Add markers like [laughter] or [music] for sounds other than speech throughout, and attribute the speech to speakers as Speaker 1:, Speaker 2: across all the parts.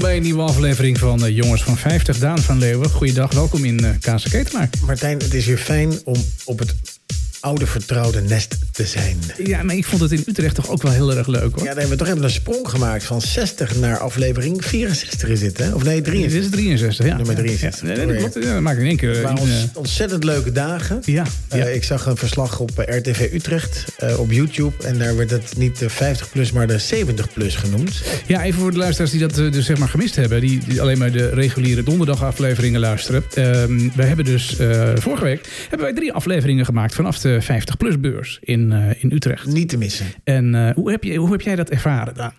Speaker 1: bij een nieuwe aflevering van eh, Jongens van 50. Daan van Leeuwen, goeiedag. Welkom in eh Kaas en Ketelaar.
Speaker 2: Martijn, het is weer fijn om op het oude vertrouwde nest te zijn.
Speaker 1: Ja, maar ik vond het in Utrecht toch ook wel heel erg leuk hoor.
Speaker 2: Ja, daar hebben we toch even een sprong gemaakt van 60 naar aflevering 64 is dit, hè? Of nee,
Speaker 1: Dit
Speaker 2: 63.
Speaker 1: is 63, ja.
Speaker 2: Nummer
Speaker 1: Ja,
Speaker 2: 63.
Speaker 1: Ja, nee, dat klopt. Ja, dat maakt in één keer... eh,
Speaker 2: Maar
Speaker 1: iets,
Speaker 2: ons,
Speaker 1: eh,
Speaker 2: ontzettend leuke dagen.
Speaker 1: ja,
Speaker 2: Eh,
Speaker 1: ja.
Speaker 2: ik zag een verslag op eh, RTV Utrecht eh, op YouTube. En daar werd het niet de 50 plus, maar de 70 plus genoemd.
Speaker 1: ja, even voor de luisteraars die dat eh, dus zeg maar gemist hebben. Die, die alleen maar de reguliere donderdagafleveringen luisteren. Ehm, wij hebben dus eh, vorige week hebben wij drie afleveringen gemaakt vanaf de 50-plus beurs in, eh, in Utrecht.
Speaker 2: Niet te missen.
Speaker 1: En eh, hoe, heb je, hoe heb jij dat ervaren, Daan?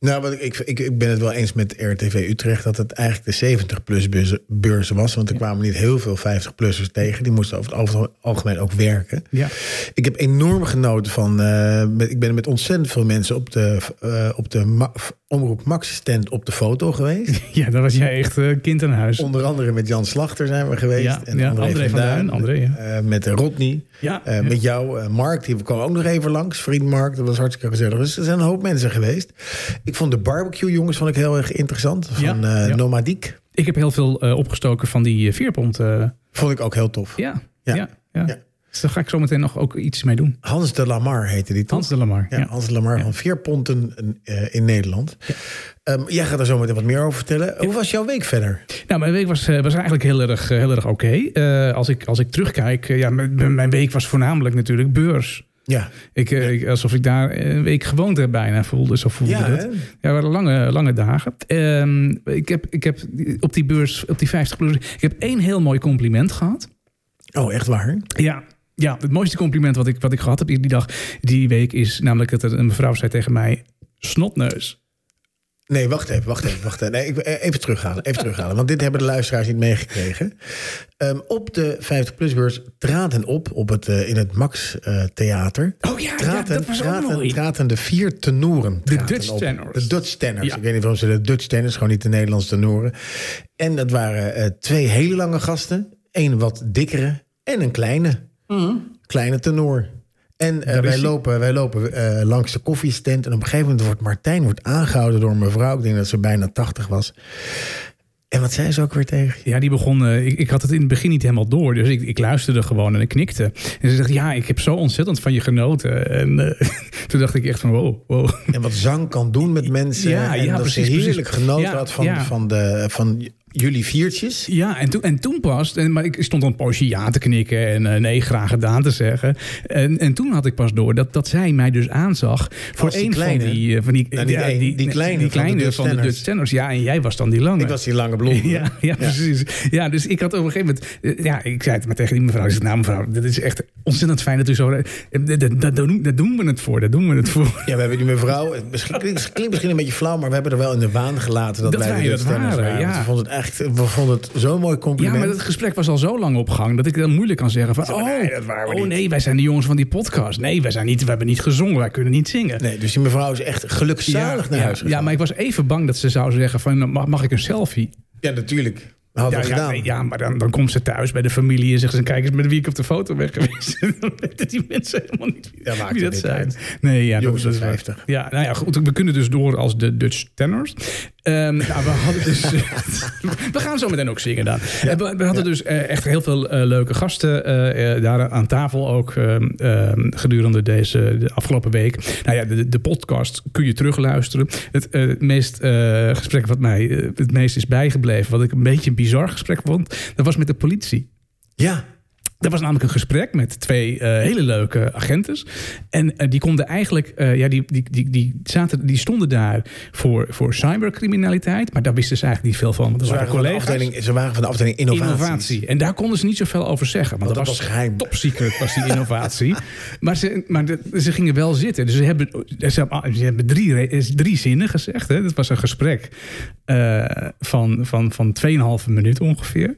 Speaker 2: Nou, want ik, ik, ik ben het wel eens met RTV Utrecht dat het eigenlijk de 70 plus beurs was. Want er kwamen niet heel veel 50-plussers tegen. Die moesten over het algemeen- algemeen ook werken.
Speaker 1: Ja.
Speaker 2: Ik heb enorm genoten van. eh, met, ik ben met ontzettend veel mensen op de, eh, op de Ma- Omroep Max stand op de foto
Speaker 1: [laughs]
Speaker 2: geweest.
Speaker 1: Ja, daar was jij echt eh, kind aan huis.
Speaker 2: Onder andere met Jan Slachter zijn we geweest.
Speaker 1: Ja, ja, André van Duin, André, ja.
Speaker 2: Eh, met eh, Rodney.
Speaker 1: Ja,
Speaker 2: Eh, met jou, eh, Mark, die kwam ook nog even langs. Vriend Mark, dat was hartstikke gezellig. Dus er zijn een hoop mensen geweest. Ik vond de barbecue jongens vond ik heel erg interessant. Van
Speaker 1: Ja,
Speaker 2: eh,
Speaker 1: ja.
Speaker 2: Nomadiek.
Speaker 1: ik heb heel veel eh, opgestoken van die eh, veerpont. eh,
Speaker 2: Vond ik ook heel tof.
Speaker 1: ja, ja.
Speaker 2: Ja.
Speaker 1: ja,
Speaker 2: Ja.
Speaker 1: Dus daar ga ik zo meteen nog ook iets mee doen.
Speaker 2: Hans de Lamar heette die toch?
Speaker 1: Hans de Lamar. Ja,
Speaker 2: Ja, Hans de Lamar van Vierponten eh, in Nederland. Ehm, jij gaat er zo meteen wat meer over vertellen. Hoe was jouw week verder?
Speaker 1: Nou, mijn week was, eh, was eigenlijk heel erg, eh, heel erg oké. Eh, als, ik, als ik terugkijk, eh, ja, mijn- mijn mijn week was voornamelijk natuurlijk beurs.
Speaker 2: Ja,
Speaker 1: Ik, eh, ik- alsof ik daar eh, een week gewoond heb bijna, voelde, zo voelde
Speaker 2: ja
Speaker 1: dat.
Speaker 2: hè?
Speaker 1: Ja, het waren lange, lange dagen. Ehm, ik, heb, ik heb op die beurs, op die 50 plus, ik heb één heel mooi compliment gehad.
Speaker 2: Oh, echt waar?
Speaker 1: Ja. Ja, het mooiste compliment wat ik, wat ik gehad heb die die dag, die week, is namelijk dat er een mevrouw zei tegen mij: snotneus.
Speaker 2: Nee, wacht even, wacht even, wacht even. Nee, ik, eh, even terughalen, even terughalen. Want dit hebben de luisteraars niet meegekregen. Ehm, op de 50PLUS-beurs traden op, op het, eh, in het Max eh, Theater...
Speaker 1: Oh ja,
Speaker 2: Traten, traten, traten de vier tenoren. traten
Speaker 1: Dutch tenors.
Speaker 2: De Dutch tenors.
Speaker 1: Ja.
Speaker 2: Ik weet niet waarom ze de Dutch tenors, gewoon niet de Nederlandse tenoren. En dat waren eh, twee hele lange gasten. Eén wat dikkere en een kleine. Kleine tenor. En eh,
Speaker 1: Daar is
Speaker 2: wij,
Speaker 1: hij.
Speaker 2: lopen, wij lopen eh, langs de koffiestand. En op een gegeven moment wordt Martijn wordt aangehouden door een mevrouw. Ik denk dat ze bijna 80 was. En wat zei ze ook weer tegen je?
Speaker 1: Ja, die begon. eh, ik, ik had het in het begin niet helemaal door, dus ik, ik luisterde gewoon en ik knikte. En ze zegt: Ja, ik heb zo ontzettend van je genoten. En eh, [laughs] toen dacht ik echt van: Wow, wow.
Speaker 2: En wat zang kan doen met
Speaker 1: [laughs]
Speaker 2: mensen.
Speaker 1: Ja,
Speaker 2: en
Speaker 1: ja,
Speaker 2: dat
Speaker 1: precies,
Speaker 2: ze
Speaker 1: precies.
Speaker 2: heerlijk genoten
Speaker 1: Ja,
Speaker 2: had van,
Speaker 1: ja.
Speaker 2: van, de, van jullie viertjes.
Speaker 1: Ja, en, toen en toen pas, en, maar ik stond al een poosje ja te knikken en eh, nee, graag gedaan te zeggen. En, en toen had ik pas door dat, dat zij mij dus aanzag voor
Speaker 2: Als Oh, die
Speaker 1: een
Speaker 2: kleine?
Speaker 1: van die... eh, van die,
Speaker 2: Nou, niet
Speaker 1: ja,
Speaker 2: één, die
Speaker 1: nee, die
Speaker 2: kleine van de
Speaker 1: kleine
Speaker 2: Dutch
Speaker 1: van de
Speaker 2: Tenners.
Speaker 1: Dutch Tenners. Ja, en jij was dan die lange.
Speaker 2: Ik
Speaker 1: [laughs]
Speaker 2: was die lange blonde.
Speaker 1: ja, ja, precies. Ja, dus ik had op een gegeven moment... eh, Ja, ik zei het maar tegen die mevrouw. Ik zei, nou mevrouw, dat is echt ontzettend fijn dat u zo... eh, Dat, dat, dat doen, dat doen we het voor, dat doen we het voor.
Speaker 2: Ja, we hebben die mevrouw. Het misschien- klinkt, klinkt misschien een beetje flauw, maar we hebben er wel in de waan gelaten dat,
Speaker 1: Dat wij
Speaker 2: de
Speaker 1: dat
Speaker 2: stemmers
Speaker 1: waren, ja.
Speaker 2: Want We vonden het echt, we vonden het zo'n mooi
Speaker 1: Ja,
Speaker 2: compliment.
Speaker 1: maar dat gesprek was al zo lang op gang dat ik dan moeilijk kan zeggen van... Oh,
Speaker 2: nee, dat waren we
Speaker 1: oh
Speaker 2: niet.
Speaker 1: nee, wij zijn de jongens van die podcast. Nee, wij, zijn niet, wij hebben niet gezongen, wij kunnen niet zingen.
Speaker 2: Nee, dus die mevrouw is echt gelukzalig naar
Speaker 1: ja,
Speaker 2: huis
Speaker 1: ja,
Speaker 2: gegaan.
Speaker 1: maar ik was even bang dat ze zou zeggen van mag, mag ik een selfie?
Speaker 2: Ja, natuurlijk. Dat hadden
Speaker 1: ja,
Speaker 2: we
Speaker 1: ja,
Speaker 2: gedaan.
Speaker 1: nee, ja, maar dan, dan komt ze thuis bij de familie en zegt ze kijk eens met wie ik op de foto ben geweest. [laughs] En dan weten die mensen helemaal niet wie,
Speaker 2: Ja, maakt
Speaker 1: wie
Speaker 2: het
Speaker 1: dat
Speaker 2: niet
Speaker 1: zijn.
Speaker 2: uit.
Speaker 1: Nee, ja,
Speaker 2: Jongens
Speaker 1: dat,
Speaker 2: van
Speaker 1: waar.
Speaker 2: 50.
Speaker 1: Ja, nou ja, goed, we kunnen dus door als de Dutch tenors. Ehm, nou, we hadden dus... [laughs] we gaan zo meteen ook zingen dan. Eh, we, we hadden dus eh, echt heel veel eh, leuke gasten eh, eh, daar aan tafel ook ehm, ehm, gedurende deze de afgelopen week. Nou ja, de, de podcast kun je terugluisteren. Het eh, het meest eh, gesprek wat mij eh, het meest is bijgebleven, wat ik een beetje een bizar gesprek vond, dat was met de politie.
Speaker 2: Ja,
Speaker 1: Dat was namelijk een gesprek met twee eh, hele leuke agentes. En eh, die konden eigenlijk, eh, ja, die, die, die, die, zaten, die stonden daar voor, voor cybercriminaliteit. Maar daar wisten ze eigenlijk niet veel van. Want dat
Speaker 2: ze waren,
Speaker 1: waren
Speaker 2: van de
Speaker 1: collega's.
Speaker 2: afdeling, ze waren van de afdeling innovatie.
Speaker 1: Innovatie. En daar konden ze niet zoveel over zeggen. Want,
Speaker 2: Want
Speaker 1: dat
Speaker 2: dat
Speaker 1: was
Speaker 2: was geheim.
Speaker 1: Top secret was die innovatie. maar ze, maar de- ze gingen wel zitten. Dus ze hebben, ze hebben, ze hebben drie, re- is drie zinnen gezegd. Hè. Dat was een gesprek eh, van, van, van 2,5 minuut ongeveer.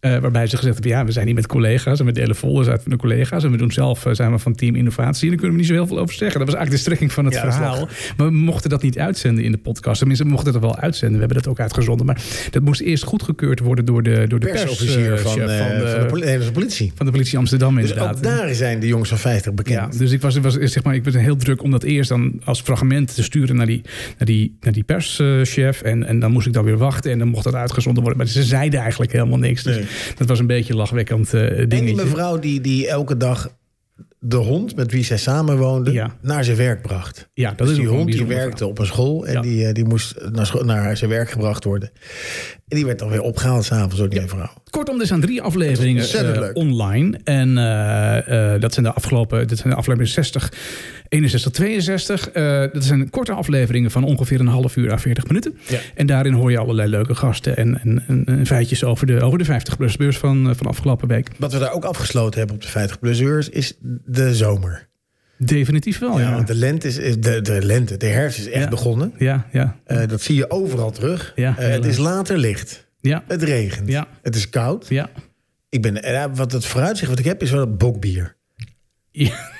Speaker 1: Eh, waarbij ze gezegd hebben, ja, we zijn hier met collega's... en we delen folders uit van de collega's... en we doen zelf, eh, zijn we van team innovatie... en daar kunnen we niet zo heel veel over zeggen. Dat was eigenlijk de strekking van het
Speaker 2: Ja, dat is
Speaker 1: verhaal. Maar we mochten dat niet uitzenden in de podcast. Tenminste, we mochten dat wel uitzenden. We hebben dat ook uitgezonden. Maar dat moest eerst goedgekeurd worden door de, door de
Speaker 2: Persofficier
Speaker 1: pers, eh,
Speaker 2: van,
Speaker 1: chef
Speaker 2: eh,
Speaker 1: van, de,
Speaker 2: van de poli- Nederlandse politie.
Speaker 1: van de politie Amsterdam
Speaker 2: Dus
Speaker 1: inderdaad.
Speaker 2: ook daar zijn de jongens van 50
Speaker 1: ja,
Speaker 2: bekend.
Speaker 1: dus ik was, was, zeg maar, ik was heel druk om dat eerst dan als fragment te sturen naar die, naar die, naar die perschef. en, en En dan moest ik dan weer wachten en dan mocht dat uitgezonden worden. Maar ze zeiden eigenlijk helemaal niks. Dus
Speaker 2: Nee.
Speaker 1: dat was een beetje een lachwekkend eh,
Speaker 2: En die
Speaker 1: dingetje.
Speaker 2: mevrouw die, die elke dag de hond met wie zij samenwoonde
Speaker 1: Ja.
Speaker 2: naar zijn werk bracht.
Speaker 1: Ja, dat
Speaker 2: Dus
Speaker 1: is ook
Speaker 2: die
Speaker 1: wel een
Speaker 2: hond die
Speaker 1: bijzonder
Speaker 2: werkte op een school en
Speaker 1: Ja.
Speaker 2: die, eh, die moest naar, scho- naar zijn werk gebracht worden. En die werd dan weer opgehaald s'avonds door die mevrouw.
Speaker 1: Kortom, er zijn drie afleveringen
Speaker 2: ontzettend
Speaker 1: eh,
Speaker 2: leuk.
Speaker 1: online. En eh, eh, dat zijn de afgelopen, dit zijn de afleveringen 60, 61, 62. Eh, dat zijn korte afleveringen van ongeveer een half uur à 40 minuten.
Speaker 2: Ja.
Speaker 1: En daarin hoor je allerlei leuke gasten en, en, en, en feitjes over de, over de 50-plus beurs van, eh, van afgelopen week.
Speaker 2: Wat we daar ook afgesloten hebben op de 50 plus uur is de zomer.
Speaker 1: Definitief wel,
Speaker 2: Ja,
Speaker 1: Oh, ja.
Speaker 2: want de lente, is, is- de, de lente, de herfst is echt
Speaker 1: Ja.
Speaker 2: begonnen.
Speaker 1: Ja, ja,
Speaker 2: Eh, dat zie je overal terug.
Speaker 1: Ja,
Speaker 2: Eh, het
Speaker 1: helaas.
Speaker 2: is later licht.
Speaker 1: ja,
Speaker 2: Het regent.
Speaker 1: Ja.
Speaker 2: Het is koud.
Speaker 1: ja.
Speaker 2: Ik ben, en, eh, wat het vooruitzicht wat ik heb is wel een bokbier.
Speaker 1: Ja,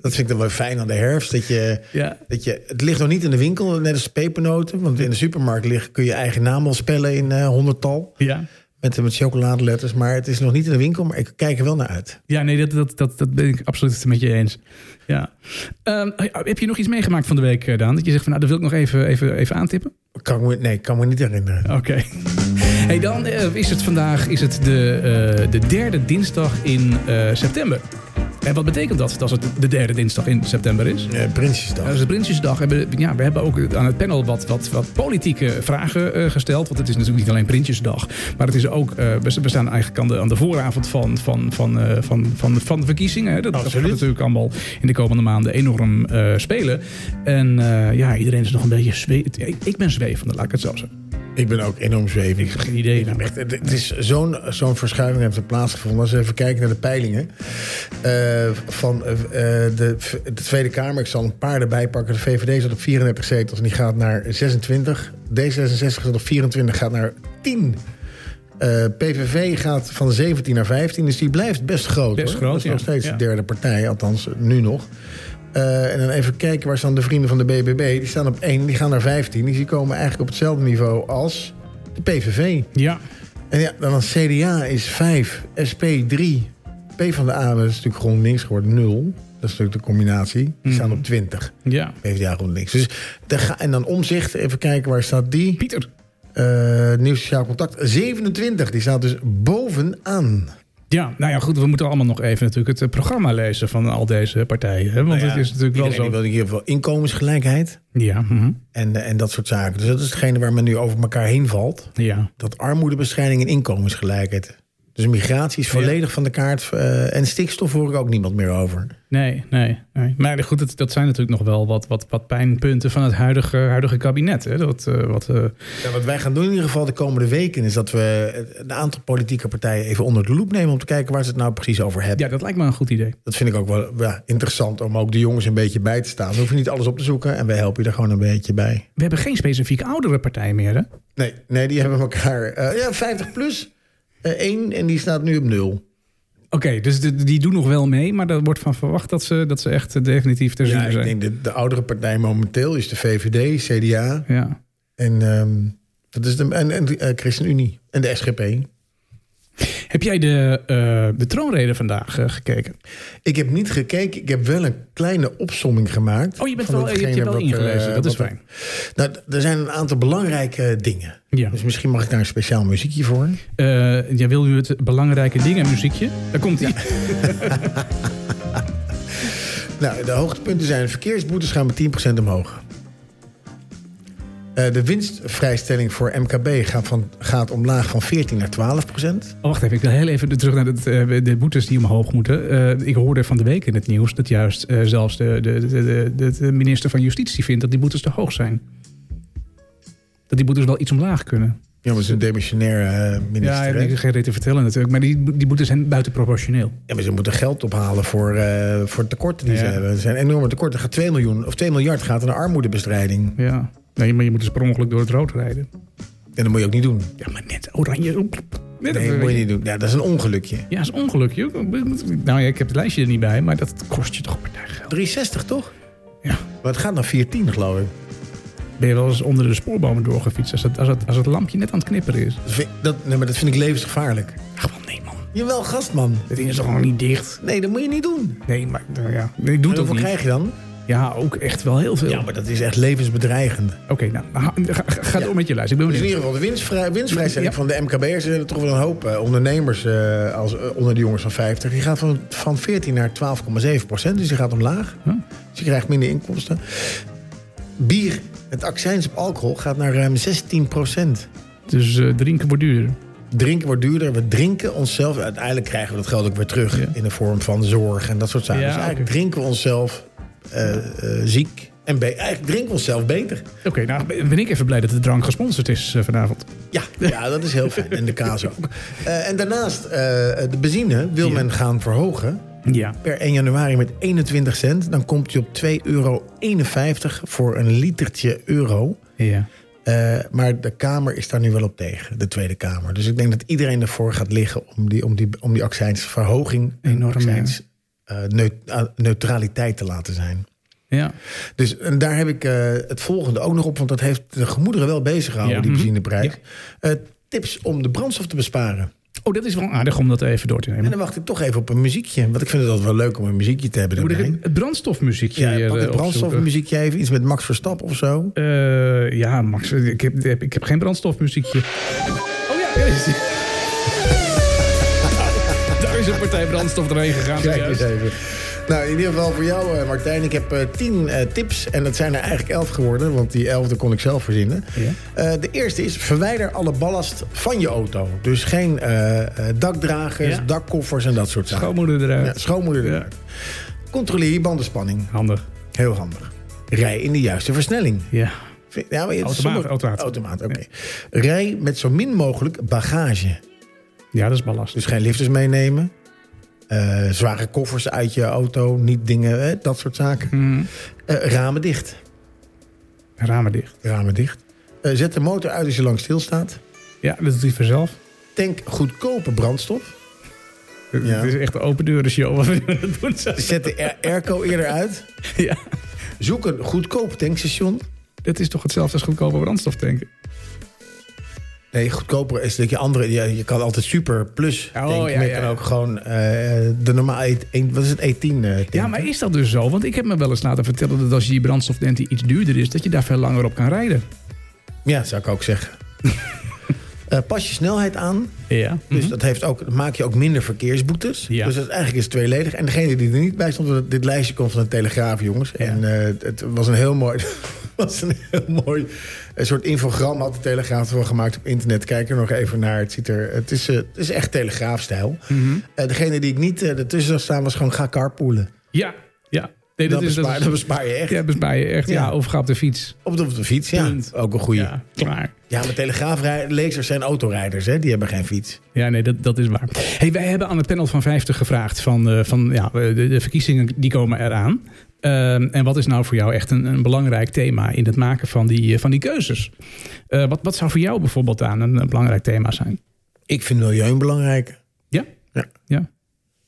Speaker 2: Dat vind ik dan wel fijn aan de herfst. Dat je,
Speaker 1: ja.
Speaker 2: dat je, het ligt nog niet in de winkel, net als pepernoten. Want in de supermarkt liggen, kun je eigen naam al spellen in eh, honderdtal.
Speaker 1: ja.
Speaker 2: Met, met chocoladeletters. Maar het is nog niet in de winkel, maar ik kijk er wel naar uit.
Speaker 1: Ja, nee, dat, dat, dat, dat ben ik absoluut met je eens. Ja. Ehm, heb je nog iets meegemaakt van de week, eh, Daan? Dat je zegt van, nou, dat wil ik nog even, even, even aantippen.
Speaker 2: Kan ik me, nee, kan me niet herinneren.
Speaker 1: Oké. Hey, dan eh, is het vandaag is het de, eh, de derde dinsdag in eh, september. En wat betekent dat, dat het de derde dinsdag in september is?
Speaker 2: Eh, Prinsjesdag.
Speaker 1: Dat is de Prinsjesdag. Hebben, ja, we hebben ook aan het panel wat, wat, wat politieke vragen eh, gesteld. Want het is natuurlijk niet alleen Prinsjesdag. Maar het is ook, eh, we we staan eigenlijk aan de, aan de vooravond van, van, van, eh, van, van, van de verkiezingen. Hè. Dat, dat gaat
Speaker 2: Absoluut.
Speaker 1: natuurlijk allemaal in de komende maanden enorm eh, spelen. En eh, ja, iedereen is nog een beetje zwee. Ik, ik ben zweevende, laat ik het zo zeggen.
Speaker 2: Ik ben ook enorm
Speaker 1: Ik
Speaker 2: zwevig.
Speaker 1: heb geen idee.
Speaker 2: Ja, echt, het- het is zo'n zo'n verschuiving heeft er plaatsgevonden. Als we even kijken naar de peilingen eh, van eh, eh, de, de Tweede Kamer. Ik zal een paar erbij pakken. De VVD zat op 34 zetels en die gaat naar 26. D66 zat op 24, gaat naar 10. Eh, PVV gaat van 17 naar 15, dus die blijft best groot.
Speaker 1: Best
Speaker 2: hoor.
Speaker 1: groot,
Speaker 2: Dat is nog
Speaker 1: ja.
Speaker 2: steeds
Speaker 1: Ja.
Speaker 2: de derde partij, althans nu nog. Eh, en dan even kijken, waar staan de vrienden van de BBB? Die staan op 1, die gaan naar 15. Dus die komen eigenlijk op hetzelfde niveau als de PVV.
Speaker 1: Ja,
Speaker 2: En ja, dan als CDA is 5, SP 3. P van de A is natuurlijk GroenLinks geworden 0. Dat is natuurlijk de combinatie. Die staan op 20.
Speaker 1: ja.
Speaker 2: PvdA GroenLinks. Dus daar ga, en dan omzicht, even kijken waar staat die.
Speaker 1: Pieter.
Speaker 2: Eh nieuw sociaal contact 27. Die staat dus bovenaan.
Speaker 1: Ja, nou ja, goed, we moeten allemaal nog even natuurlijk het eh, programma lezen van al deze partijen. Hè? Want
Speaker 2: Nou ja,
Speaker 1: het is natuurlijk wel
Speaker 2: Iedereen die
Speaker 1: zo.
Speaker 2: wil in ieder geval inkomensgelijkheid
Speaker 1: Ja, mhm.
Speaker 2: en, eh, en dat soort zaken. Dus dat is hetgene waar men nu over elkaar heen valt.
Speaker 1: ja.
Speaker 2: Dat armoedebestrijding en inkomensgelijkheid. Dus migratie is volledig van de kaart. eh, en stikstof hoor ik ook niemand meer over.
Speaker 1: Nee, nee, nee. Maar goed, dat, dat zijn natuurlijk nog wel wat, wat, wat pijnpunten van het huidige, huidige kabinet. Hè? Dat, eh, wat, eh,
Speaker 2: Ja, wat wij gaan doen in ieder geval de komende weken... is dat we een aantal politieke partijen even onder de loep nemen... om te kijken waar ze het nou precies over hebben.
Speaker 1: ja, dat lijkt me een goed idee.
Speaker 2: Dat vind ik ook wel ja, interessant om ook de jongens een beetje bij te staan. We hoeven niet alles op te zoeken en wij helpen je er gewoon een beetje bij.
Speaker 1: We hebben geen specifieke oudere partij meer, hè?
Speaker 2: Nee, nee die hebben elkaar... eh, ja, 50 plus, 1 en die staat nu op 0.
Speaker 1: Oké, dus de- die doen nog wel mee, maar er wordt van verwacht dat ze, dat ze echt eh, definitief ter
Speaker 2: Ja,
Speaker 1: zake
Speaker 2: ik
Speaker 1: zijn.
Speaker 2: denk de, de oudere partij momenteel is de VVD, CDA...
Speaker 1: Ja.
Speaker 2: en, ehm, dat is de, en, en de eh, ChristenUnie en de SGP.
Speaker 1: Heb jij de, eh, de troonrede vandaag eh, gekeken?
Speaker 2: Ik heb niet gekeken. Ik heb wel een kleine opsomming gemaakt.
Speaker 1: Oh, je bent
Speaker 2: van
Speaker 1: wel, je hebt je
Speaker 2: hetgene
Speaker 1: wel
Speaker 2: wat,
Speaker 1: ingelezen,
Speaker 2: eh,
Speaker 1: dat is
Speaker 2: wat-
Speaker 1: fijn.
Speaker 2: Nou, d- er zijn een aantal belangrijke dingen.
Speaker 1: Ja.
Speaker 2: Dus misschien mag ik daar een speciaal muziekje voor.
Speaker 1: Eh, jij wil nu het belangrijke ding en muziekje. Daar komt ie.
Speaker 2: Nou, de hoogtepunten zijn... verkeersboetes gaan met 10% omhoog. Eh, de winstvrijstelling voor MKB gaat, van, gaat omlaag van 14 naar 12
Speaker 1: Oh, wacht even, ik wil heel even terug naar het, eh, de boetes die omhoog moeten. Eh, ik hoorde van de week in het nieuws dat juist eh, zelfs de, de, de, de, de minister van Justitie vindt dat die boetes te hoog zijn. Dat die boetes wel iets omlaag kunnen.
Speaker 2: Ja, maar het is een demissionair eh,
Speaker 1: Ja,
Speaker 2: minister.
Speaker 1: ik
Speaker 2: hè?
Speaker 1: heb geen reden te vertellen natuurlijk, maar die, die boetes zijn buitenproportioneel.
Speaker 2: Ja, maar ze moeten geld ophalen voor, eh, voor tekorten die
Speaker 1: Ja.
Speaker 2: ze hebben. Er zijn enorme tekorten. Er Gaat 2, miljoen, of 2 miljard gaat naar armoedebestrijding.
Speaker 1: Ja. Nee, maar je moet dus per ongeluk door het rood rijden.
Speaker 2: En dat moet je ook niet doen.
Speaker 1: Ja, maar net oranje. oep, Net
Speaker 2: Nee, dat
Speaker 1: oranje.
Speaker 2: moet je niet doen. Ja, dat is een ongelukje.
Speaker 1: Ja, is ongeluk. joh. Nou ja, ik heb het lijstje er niet bij, maar dat kost je toch een partij geld.
Speaker 2: 360 toch?
Speaker 1: Ja.
Speaker 2: Maar het gaat naar 410 geloof ik.
Speaker 1: Ben je wel eens onder de spoorbomen doorgefietst als het, als het, als het lampje net aan het knipperen is?
Speaker 2: Dat vind, dat, nee, maar dat vind ik levensgevaarlijk.
Speaker 1: Ach, wel nee man.
Speaker 2: Jawel, gastman.
Speaker 1: Het ding is toch nog niet dicht?
Speaker 2: Nee, dat moet je niet doen.
Speaker 1: Nee, maar nou ja. Nee, ik doe het
Speaker 2: Hoeveel
Speaker 1: ook niet.
Speaker 2: krijg je dan?
Speaker 1: Ja, ook echt wel heel veel.
Speaker 2: Ja, maar dat is echt levensbedreigend.
Speaker 1: Oké, nou, ha- ga, ga- ga door met je lijst. Ik ben
Speaker 2: Dus in
Speaker 1: benieuwd.
Speaker 2: ieder geval de winstvrij, winstvrijstelling
Speaker 1: Ja.
Speaker 2: van de MKB'ers. Er zijn er toch wel een hoop eh, ondernemers eh, als, eh, onder de jongens van 50. Die gaat van, van 14 naar 12,7 procent. Dus die gaat omlaag.
Speaker 1: Huh?
Speaker 2: Dus je krijgt minder inkomsten. Bier, het accijns op alcohol, gaat naar ruim 16 procent.
Speaker 1: Dus eh, drinken wordt duurder.
Speaker 2: Drinken wordt duurder. We drinken onszelf. Uiteindelijk krijgen we dat geld ook weer terug.
Speaker 1: Ja.
Speaker 2: In de vorm van zorg en dat soort zaken.
Speaker 1: Ja,
Speaker 2: dus eigenlijk
Speaker 1: oké.
Speaker 2: drinken we onszelf eh, eh, ziek. En be- eigenlijk drinken we onszelf beter.
Speaker 1: Oké, nou ben ik even blij dat de drank gesponsord is eh, vanavond.
Speaker 2: Ja, ja, dat is heel fijn. En de kaas ook.
Speaker 1: [laughs]
Speaker 2: Eh, en daarnaast, eh, de benzine wil
Speaker 1: Ja.
Speaker 2: men gaan verhogen.
Speaker 1: Ja.
Speaker 2: Per 1 januari met 21 cent. Dan komt hij op 2,51 euro voor een litertje euro.
Speaker 1: Ja.
Speaker 2: Eh, maar de Kamer is daar nu wel op tegen, de Tweede Kamer. Dus ik denk dat iedereen ervoor gaat liggen om die, om die, om die accijnsverhoging... en
Speaker 1: Enorm,
Speaker 2: accijns, eh, neu- ah, neutraliteit te laten zijn.
Speaker 1: Ja.
Speaker 2: Dus en daar heb ik eh, het volgende ook nog op, want dat heeft de gemoederen wel bezig gehouden,
Speaker 1: Ja.
Speaker 2: die
Speaker 1: Mhm.
Speaker 2: benzineprijs. Eh, tips om de brandstof te besparen.
Speaker 1: Oh, dat is wel aardig om dat even door te
Speaker 2: En
Speaker 1: nemen.
Speaker 2: dan wacht ik toch even op een muziekje, want ik vind het altijd wel leuk om een muziekje te hebben.
Speaker 1: Moet ik
Speaker 2: erbij.
Speaker 1: het- het brandstofmuziekje
Speaker 2: ja,
Speaker 1: hier,
Speaker 2: pak het
Speaker 1: eh, opzoeken?
Speaker 2: brandstofmuziekje even, iets met Max Verstappen of zo.
Speaker 1: Eh, ja, Max, ik heb, ik heb geen brandstofmuziekje. Oh ja, daar is [laughs] die. Daar is een partij brandstof doorheen gegaan.
Speaker 2: Kijk eens
Speaker 1: zojuist.
Speaker 2: even. Nou, in ieder geval voor jou, eh, Martijn. Ik heb eh, tien eh, tips en dat zijn er eigenlijk elf geworden, want die elfde kon ik zelf verzinnen.
Speaker 1: Ja.
Speaker 2: Eh, de eerste is verwijder alle ballast van je auto. Dus geen eh, eh, dakdragers,
Speaker 1: Ja.
Speaker 2: dakkoffers en dat soort zaken.
Speaker 1: Schoonmoeder
Speaker 2: Ja,
Speaker 1: eruit.
Speaker 2: schoonmoeder
Speaker 1: Ja.
Speaker 2: eruit. Controleer je bandenspanning.
Speaker 1: Handig.
Speaker 2: Heel handig. Rij in de juiste versnelling.
Speaker 1: Ja.
Speaker 2: Vind- Ja, maar je-
Speaker 1: Automaat,
Speaker 2: sommige-
Speaker 1: automaat.
Speaker 2: Automaat, oké. Rij met zo min mogelijk bagage.
Speaker 1: ja, dat is ballast.
Speaker 2: Dus geen lifters meenemen. eh, zware koffers uit je auto. Niet dingen, hè, dat soort zaken.
Speaker 1: Mhm.
Speaker 2: Eh, ramen dicht.
Speaker 1: Ramen dicht.
Speaker 2: Ramen dicht. Eh, zet de motor uit als je lang stilstaat.
Speaker 1: Ja, dat doet hij vanzelf.
Speaker 2: Tank goedkope brandstof.
Speaker 1: Het
Speaker 2: Ja.
Speaker 1: is echt een open deuren show wat we aan [laughs] het doen zijn.
Speaker 2: Zet de air- airco eerder uit.
Speaker 1: Ja.
Speaker 2: Zoek een goedkoop tankstation.
Speaker 1: Dat is toch hetzelfde als goedkope brandstof tanken?
Speaker 2: Nee, goedkoper is dat je andere. Je, je kan altijd super plus.
Speaker 1: Oh,
Speaker 2: tanken,
Speaker 1: ja,
Speaker 2: maar je
Speaker 1: ja,
Speaker 2: kan
Speaker 1: ja.
Speaker 2: ook gewoon eh, de normaal. E- een- Wat is het? E10. eh, tanken.
Speaker 1: Ja, maar is dat dus zo? Want ik heb me wel eens laten vertellen dat als je die brandstof tankt die iets duurder is, dat je daar veel langer op kan rijden.
Speaker 2: Ja, zou ik ook
Speaker 1: [laughs]
Speaker 2: zeggen. Eh, pas je snelheid aan.
Speaker 1: Ja.
Speaker 2: Dus dat heeft ook, dan maak je ook minder verkeersboetes.
Speaker 1: Mhm. Ja.
Speaker 2: Dus dat eigenlijk is het tweeledig. En degene die er niet bij stond, want dit lijstje komt van de Telegraaf, jongens. En eh, het was een heel mooi. [laughs] was een heel mooi een soort infogram had de Telegraaf ervan gemaakt op internet. Kijk er nog even naar. Het, ziet er, het, is, eh, het is echt Telegraafstijl.
Speaker 1: Mhm.
Speaker 2: Eh, degene die ik niet eh, ertussen zag staan was gewoon ga carpoolen.
Speaker 1: Ja. Ja. Nee,
Speaker 2: dat, bespaar, dat bespaar je echt.
Speaker 1: Ja, bespaar je echt. Ja.
Speaker 2: Ja.
Speaker 1: of ga op de fiets.
Speaker 2: Op, de, op de fiets, ja.
Speaker 1: Punt.
Speaker 2: Ook een goede. Ja,
Speaker 1: Ja, klaar.
Speaker 2: maar Telegraaflezers zijn autorijders, hè? Die hebben geen fiets.
Speaker 1: Ja, nee, dat, dat is waar. Hey, wij hebben aan het panel van 50 gevraagd van, eh, van ja, de, de verkiezingen die komen eraan. Ehm, en wat is nou voor jou echt een, een belangrijk thema in het maken van die, eh, van die keuzes? Eh, wat, wat zou voor jou bijvoorbeeld aan een, een belangrijk thema zijn?
Speaker 2: Ik vind milieu belangrijk.
Speaker 1: Ja?
Speaker 2: Ja.
Speaker 1: Ja.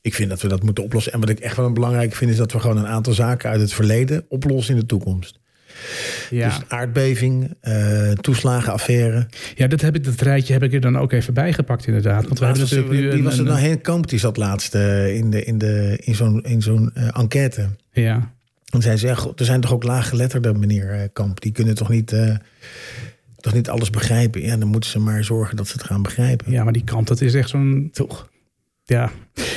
Speaker 2: Ik vind dat we dat moeten oplossen. En wat ik echt wel belangrijk vind, is dat we gewoon een aantal zaken uit het verleden oplossen in de toekomst.
Speaker 1: Ja.
Speaker 2: Dus aardbeving, eh, toeslagenaffaire.
Speaker 1: ja, dat, heb ik, dat rijtje heb ik er dan ook even bijgepakt inderdaad. Want we hebben
Speaker 2: Laatst was
Speaker 1: natuurlijk
Speaker 2: er-
Speaker 1: nu
Speaker 2: wie
Speaker 1: een-
Speaker 2: was er
Speaker 1: een-
Speaker 2: nou? Henk Kamp, die zat laatst eh, in, de, in, de, in zo'n, in zo'n eh, enquête.
Speaker 1: Ja.
Speaker 2: En zij zeggen, "Goh, er zijn toch ook laaggeletterde meneer eh, Kamp. Die kunnen toch niet, eh, toch niet alles begrijpen. Ja, dan moeten ze maar zorgen dat ze het gaan begrijpen.
Speaker 1: ja, maar die kant, dat is echt zo'n
Speaker 2: Toch?
Speaker 1: Ja,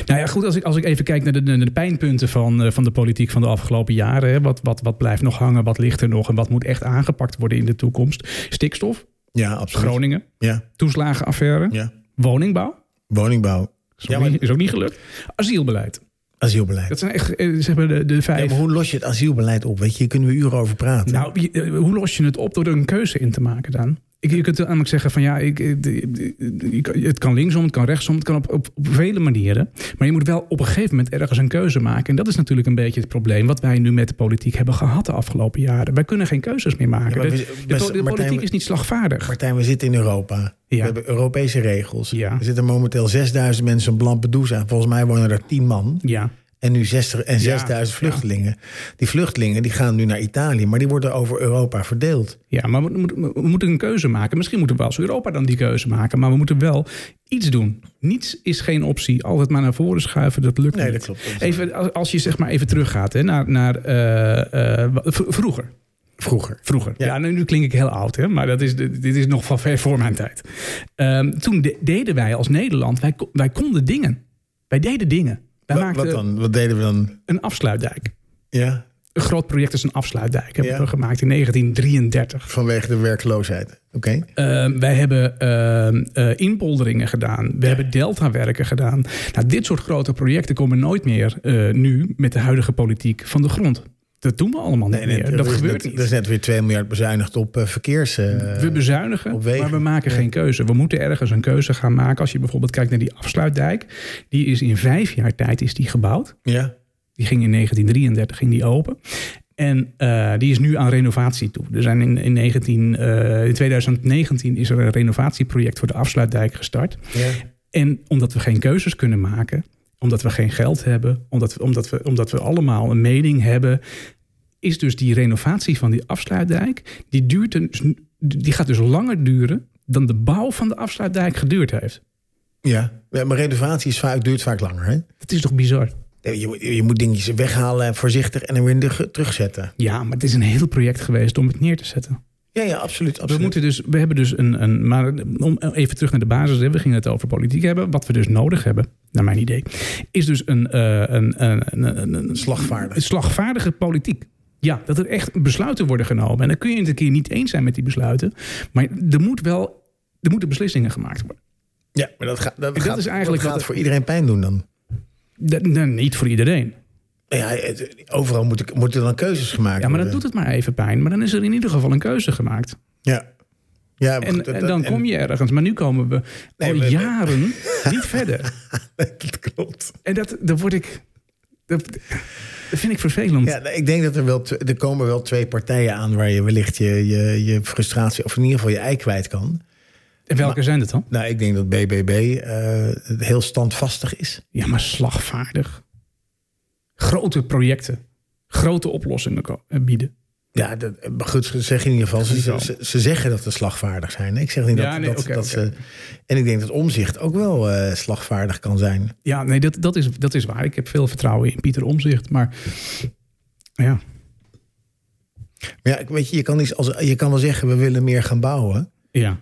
Speaker 1: nou ja, goed. Als ik, als ik even kijk naar de, de, de pijnpunten van, eh, van de politiek van de afgelopen jaren. Hè, wat, wat, wat blijft nog hangen? Wat ligt er nog? En wat moet echt aangepakt worden in de toekomst? Stikstof,
Speaker 2: Ja, absoluut.
Speaker 1: Groningen,
Speaker 2: Ja,
Speaker 1: toeslagenaffaire,
Speaker 2: ja.
Speaker 1: woningbouw.
Speaker 2: Woningbouw,
Speaker 1: Is,
Speaker 2: Ja,
Speaker 1: ook
Speaker 2: maar-
Speaker 1: niet, is ook niet gelukt. Asielbeleid.
Speaker 2: asielbeleid.
Speaker 1: Dat zijn echt eh, zeg maar de, de
Speaker 2: Ja,
Speaker 1: vijf.
Speaker 2: maar hoe los je het asielbeleid op? Weet je, hier kunnen we uren over praten.
Speaker 1: Nou, je- eh, hoe los je het op door er een keuze in te maken dan? Ik, je kunt namelijk zeggen van ja, ik, eh, de- de- de- je kan- het kan linksom, het kan rechtsom, het kan op, op, op vele manieren. Maar je moet wel op een gegeven moment ergens een keuze maken. En dat is natuurlijk een beetje het probleem wat wij nu met de politiek hebben gehad de afgelopen jaren. Wij kunnen geen keuzes meer maken.
Speaker 2: Ja,
Speaker 1: de,
Speaker 2: maar we-
Speaker 1: de po-
Speaker 2: beste
Speaker 1: de politiek
Speaker 2: Martijn, we-
Speaker 1: is niet slagvaardig.
Speaker 2: Martijn, we zitten in Europa.
Speaker 1: Ja.
Speaker 2: We hebben Europese regels.
Speaker 1: Ja.
Speaker 2: Er zitten momenteel 6000 mensen op Lampedusa. Volgens mij wonen er 10 man.
Speaker 1: Ja,
Speaker 2: En nu 60 en 6000 vluchtelingen. Die vluchtelingen die gaan nu naar Italië, maar die worden over Europa verdeeld.
Speaker 1: Ja, maar we, moeten- we moeten een keuze maken. Misschien moeten we als Europa dan die keuze maken. Maar we moeten wel iets doen. Niets is geen optie. Altijd maar naar voren schuiven, dat lukt
Speaker 2: Nee,
Speaker 1: niet.
Speaker 2: dat klopt.
Speaker 1: Even, als- als je zeg maar even teruggaat hè, naar, naar eh, eh, w- v- vroeger.
Speaker 2: Vroeger.
Speaker 1: Vroeger. Ja,
Speaker 2: Ja.
Speaker 1: nou, nu klink ik heel oud, hè? maar dat is, de- dit is nog van ver voor mijn tijd. Ehm, toen de- deden wij als Nederland, wij, ko- wij konden dingen. Wij deden dingen. Wij
Speaker 2: Wa-
Speaker 1: maakten
Speaker 2: wat dan? Wat deden we dan?
Speaker 1: een afsluitdijk.
Speaker 2: Ja,
Speaker 1: Een groot project is een afsluitdijk. Hebben
Speaker 2: Ja.
Speaker 1: we gemaakt in 1933.
Speaker 2: vanwege de werkloosheid. Oké.
Speaker 1: Ehm, wij hebben ehm, eh, inpolderingen gedaan. We hebben deltawerken gedaan. Nou, dit soort grote projecten komen nooit meer eh, nu met de huidige politiek van de grond. Dat doen we allemaal niet meer.
Speaker 2: er
Speaker 1: dat
Speaker 2: is
Speaker 1: gebeurt
Speaker 2: net,
Speaker 1: niet.
Speaker 2: Er is net weer 2 miljard bezuinigd op eh, verkeers. eh,
Speaker 1: we bezuinigen,
Speaker 2: op wegen.
Speaker 1: maar we maken geen keuze. We moeten ergens een keuze gaan maken. Als je bijvoorbeeld kijkt naar die afsluitdijk. Die is in vijf jaar tijd is die gebouwd.
Speaker 2: ja.
Speaker 1: Die ging in 1933 ging die open. En eh, die is nu aan renovatie toe. Er zijn in, in, 19, eh, in 2019 is er een renovatieproject voor de afsluitdijk gestart.
Speaker 2: ja.
Speaker 1: En omdat we geen keuzes kunnen maken, omdat we geen geld hebben, omdat we, omdat we, omdat we allemaal een mening hebben, is dus die renovatie van die afsluitdijk, die, duurt dus, die gaat dus langer duren dan de bouw van de afsluitdijk geduurd heeft.
Speaker 2: Ja. Ja, maar renovatie is vaak, duurt vaak langer. Hè?
Speaker 1: Dat is toch bizar?
Speaker 2: Je, moet- je moet dingetjes weghalen, en voorzichtig en dan weer in de ge- terugzetten.
Speaker 1: Ja, maar het is een heel project geweest om het neer te zetten.
Speaker 2: Ja, ja, absoluut. absoluut.
Speaker 1: We, moeten dus, we hebben dus een, een. Maar om even terug naar de basis. hè, We gingen het over politiek hebben. Wat we dus nodig hebben, naar mijn idee, is dus een, eh, een, een, een, een, een
Speaker 2: Slagvaardig.
Speaker 1: Een slagvaardige politiek. Ja, dat er echt besluiten worden genomen. En dan kun je het een keer niet eens zijn met die besluiten. Maar er moet wel. Er moeten beslissingen gemaakt worden.
Speaker 2: Ja, maar dat, gaat, dat,
Speaker 1: Dat
Speaker 2: gaat,
Speaker 1: is eigenlijk
Speaker 2: dat
Speaker 1: wat-
Speaker 2: gaat voor iedereen pijn doen dan.
Speaker 1: Dat- nou, niet voor iedereen.
Speaker 2: Ja, het- overal moeten moeten dan keuzes gemaakt
Speaker 1: Ja, maar dan
Speaker 2: worden.
Speaker 1: doet het maar even pijn. Maar dan is er in ieder geval een keuze gemaakt.
Speaker 2: Ja. Ja, maar
Speaker 1: En,
Speaker 2: goed, dat-
Speaker 1: en dan
Speaker 2: en-
Speaker 1: kom je ergens. Maar nu komen we
Speaker 2: Nee,
Speaker 1: al
Speaker 2: we- we- [laughs]
Speaker 1: jaren niet verder.
Speaker 2: dat klopt.
Speaker 1: En dat, dat word ik. Dat, dat vind ik vervelend.
Speaker 2: Ja, nou, ik denk dat er wel tw- er komen wel twee partijen aan waar je wellicht je, je, je frustratie of in ieder geval je ei kwijt kan.
Speaker 1: en welke zijn dat dan?
Speaker 2: Nou, ik denk dat BBB eh, heel standvastig is.
Speaker 1: Ja, maar slagvaardig. Grote projecten. Grote oplossingen ko- eh, bieden.
Speaker 2: Ja, dat, maar goed, ze zeggen in ieder geval, ze,
Speaker 1: Zo.
Speaker 2: ze, ze zeggen dat ze slagvaardig zijn. Ik zeg niet
Speaker 1: Ja,
Speaker 2: dat,
Speaker 1: nee,
Speaker 2: dat,
Speaker 1: oké,
Speaker 2: dat
Speaker 1: oké,
Speaker 2: ze. En ik denk dat omzicht ook wel eh, slagvaardig kan zijn.
Speaker 1: Ja, nee, dat, dat, is, dat is waar. Ik heb veel vertrouwen in Pieter Omzicht. Maar ja,
Speaker 2: Maar ja, ik- weet je, je kan, iets als, je kan wel zeggen, we willen meer gaan bouwen.
Speaker 1: ja,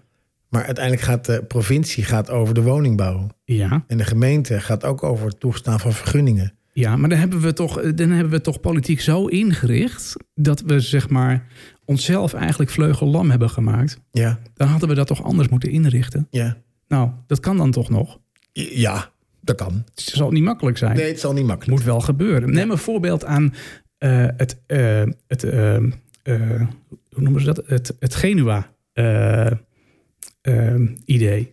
Speaker 2: Maar uiteindelijk gaat de provincie gaat over de woningbouw.
Speaker 1: ja,
Speaker 2: En de gemeente gaat ook over het toestaan van vergunningen.
Speaker 1: ja. Maar dan hebben, we toch, eh, dan hebben we toch politiek zo ingericht... dat we zeg maar onszelf eigenlijk vleugellam hebben gemaakt.
Speaker 2: Ja,
Speaker 1: Dan hadden we dat toch anders moeten inrichten.
Speaker 2: ja.
Speaker 1: Nou, dat kan dan toch nog.
Speaker 2: Ja, dat kan.
Speaker 1: Het zal niet makkelijk zijn.
Speaker 2: Nee, het zal niet makkelijk.
Speaker 1: moet wel gebeuren. Neem een voorbeeld aan eh, het, eh, het eh, eh, hoe noemen ze dat? Het, het eh, ehm, Genua-idee.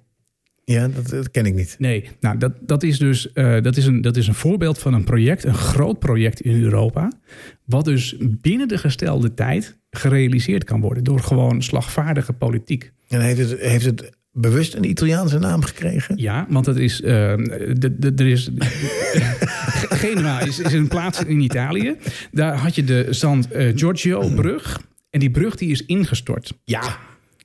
Speaker 2: Ja, dat, dat ken ik niet.
Speaker 1: nee, nou, dat, dat is dus eh, dat is een, dat is een voorbeeld van een project, een groot project in Europa, wat dus binnen de gestelde tijd gerealiseerd kan worden door gewoon slagvaardige politiek.
Speaker 2: En heeft het, heeft het bewust een Italiaanse naam gekregen?
Speaker 1: Ja, want dat is. eh, de- de- er is [laughs] Genua is, is een plaats in Italië. Daar had je de San eh, Giorgio-brug. En die brug die is ingestort.
Speaker 2: Ja.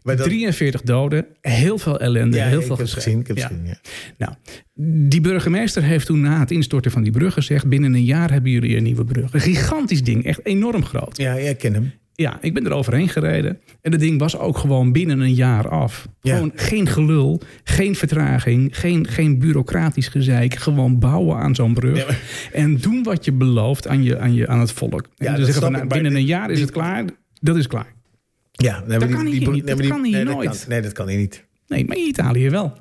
Speaker 2: Maar dat,
Speaker 1: 43 doden, heel veel ellende,
Speaker 2: ja,
Speaker 1: heel
Speaker 2: ik
Speaker 1: veel
Speaker 2: heb het
Speaker 1: geschreven.
Speaker 2: gezien. Ik heb het
Speaker 1: Ja.
Speaker 2: gezien ja.
Speaker 1: Nou, die burgemeester heeft toen na het instorten van die brug gezegd... binnen een jaar hebben jullie een nieuwe brug. Een gigantisch ding, echt enorm groot.
Speaker 2: ja, jij kent hem.
Speaker 1: Ja, ik ben er overheen gereden. En dat ding was ook gewoon binnen een jaar af.
Speaker 2: Ja.
Speaker 1: Gewoon geen gelul, geen vertraging, geen, geen bureaucratisch gezeik. Gewoon bouwen aan zo'n brug.
Speaker 2: Ja,
Speaker 1: En doen wat je belooft aan, je, aan, je, aan het volk. En
Speaker 2: Ja,
Speaker 1: dan
Speaker 2: dat
Speaker 1: zeggen
Speaker 2: snap
Speaker 1: van,
Speaker 2: ik,
Speaker 1: nou,
Speaker 2: maar
Speaker 1: binnen een
Speaker 2: dit-
Speaker 1: jaar is
Speaker 2: dit-
Speaker 1: het klaar. Dat is klaar.
Speaker 2: Ja, nee, maar
Speaker 1: Dat kan hier
Speaker 2: broer-
Speaker 1: niet.
Speaker 2: nee, maar
Speaker 1: Dat kan hier
Speaker 2: nee,
Speaker 1: nooit.
Speaker 2: Dat kan, nee, dat kan hier niet.
Speaker 1: Nee, maar in Italië wel.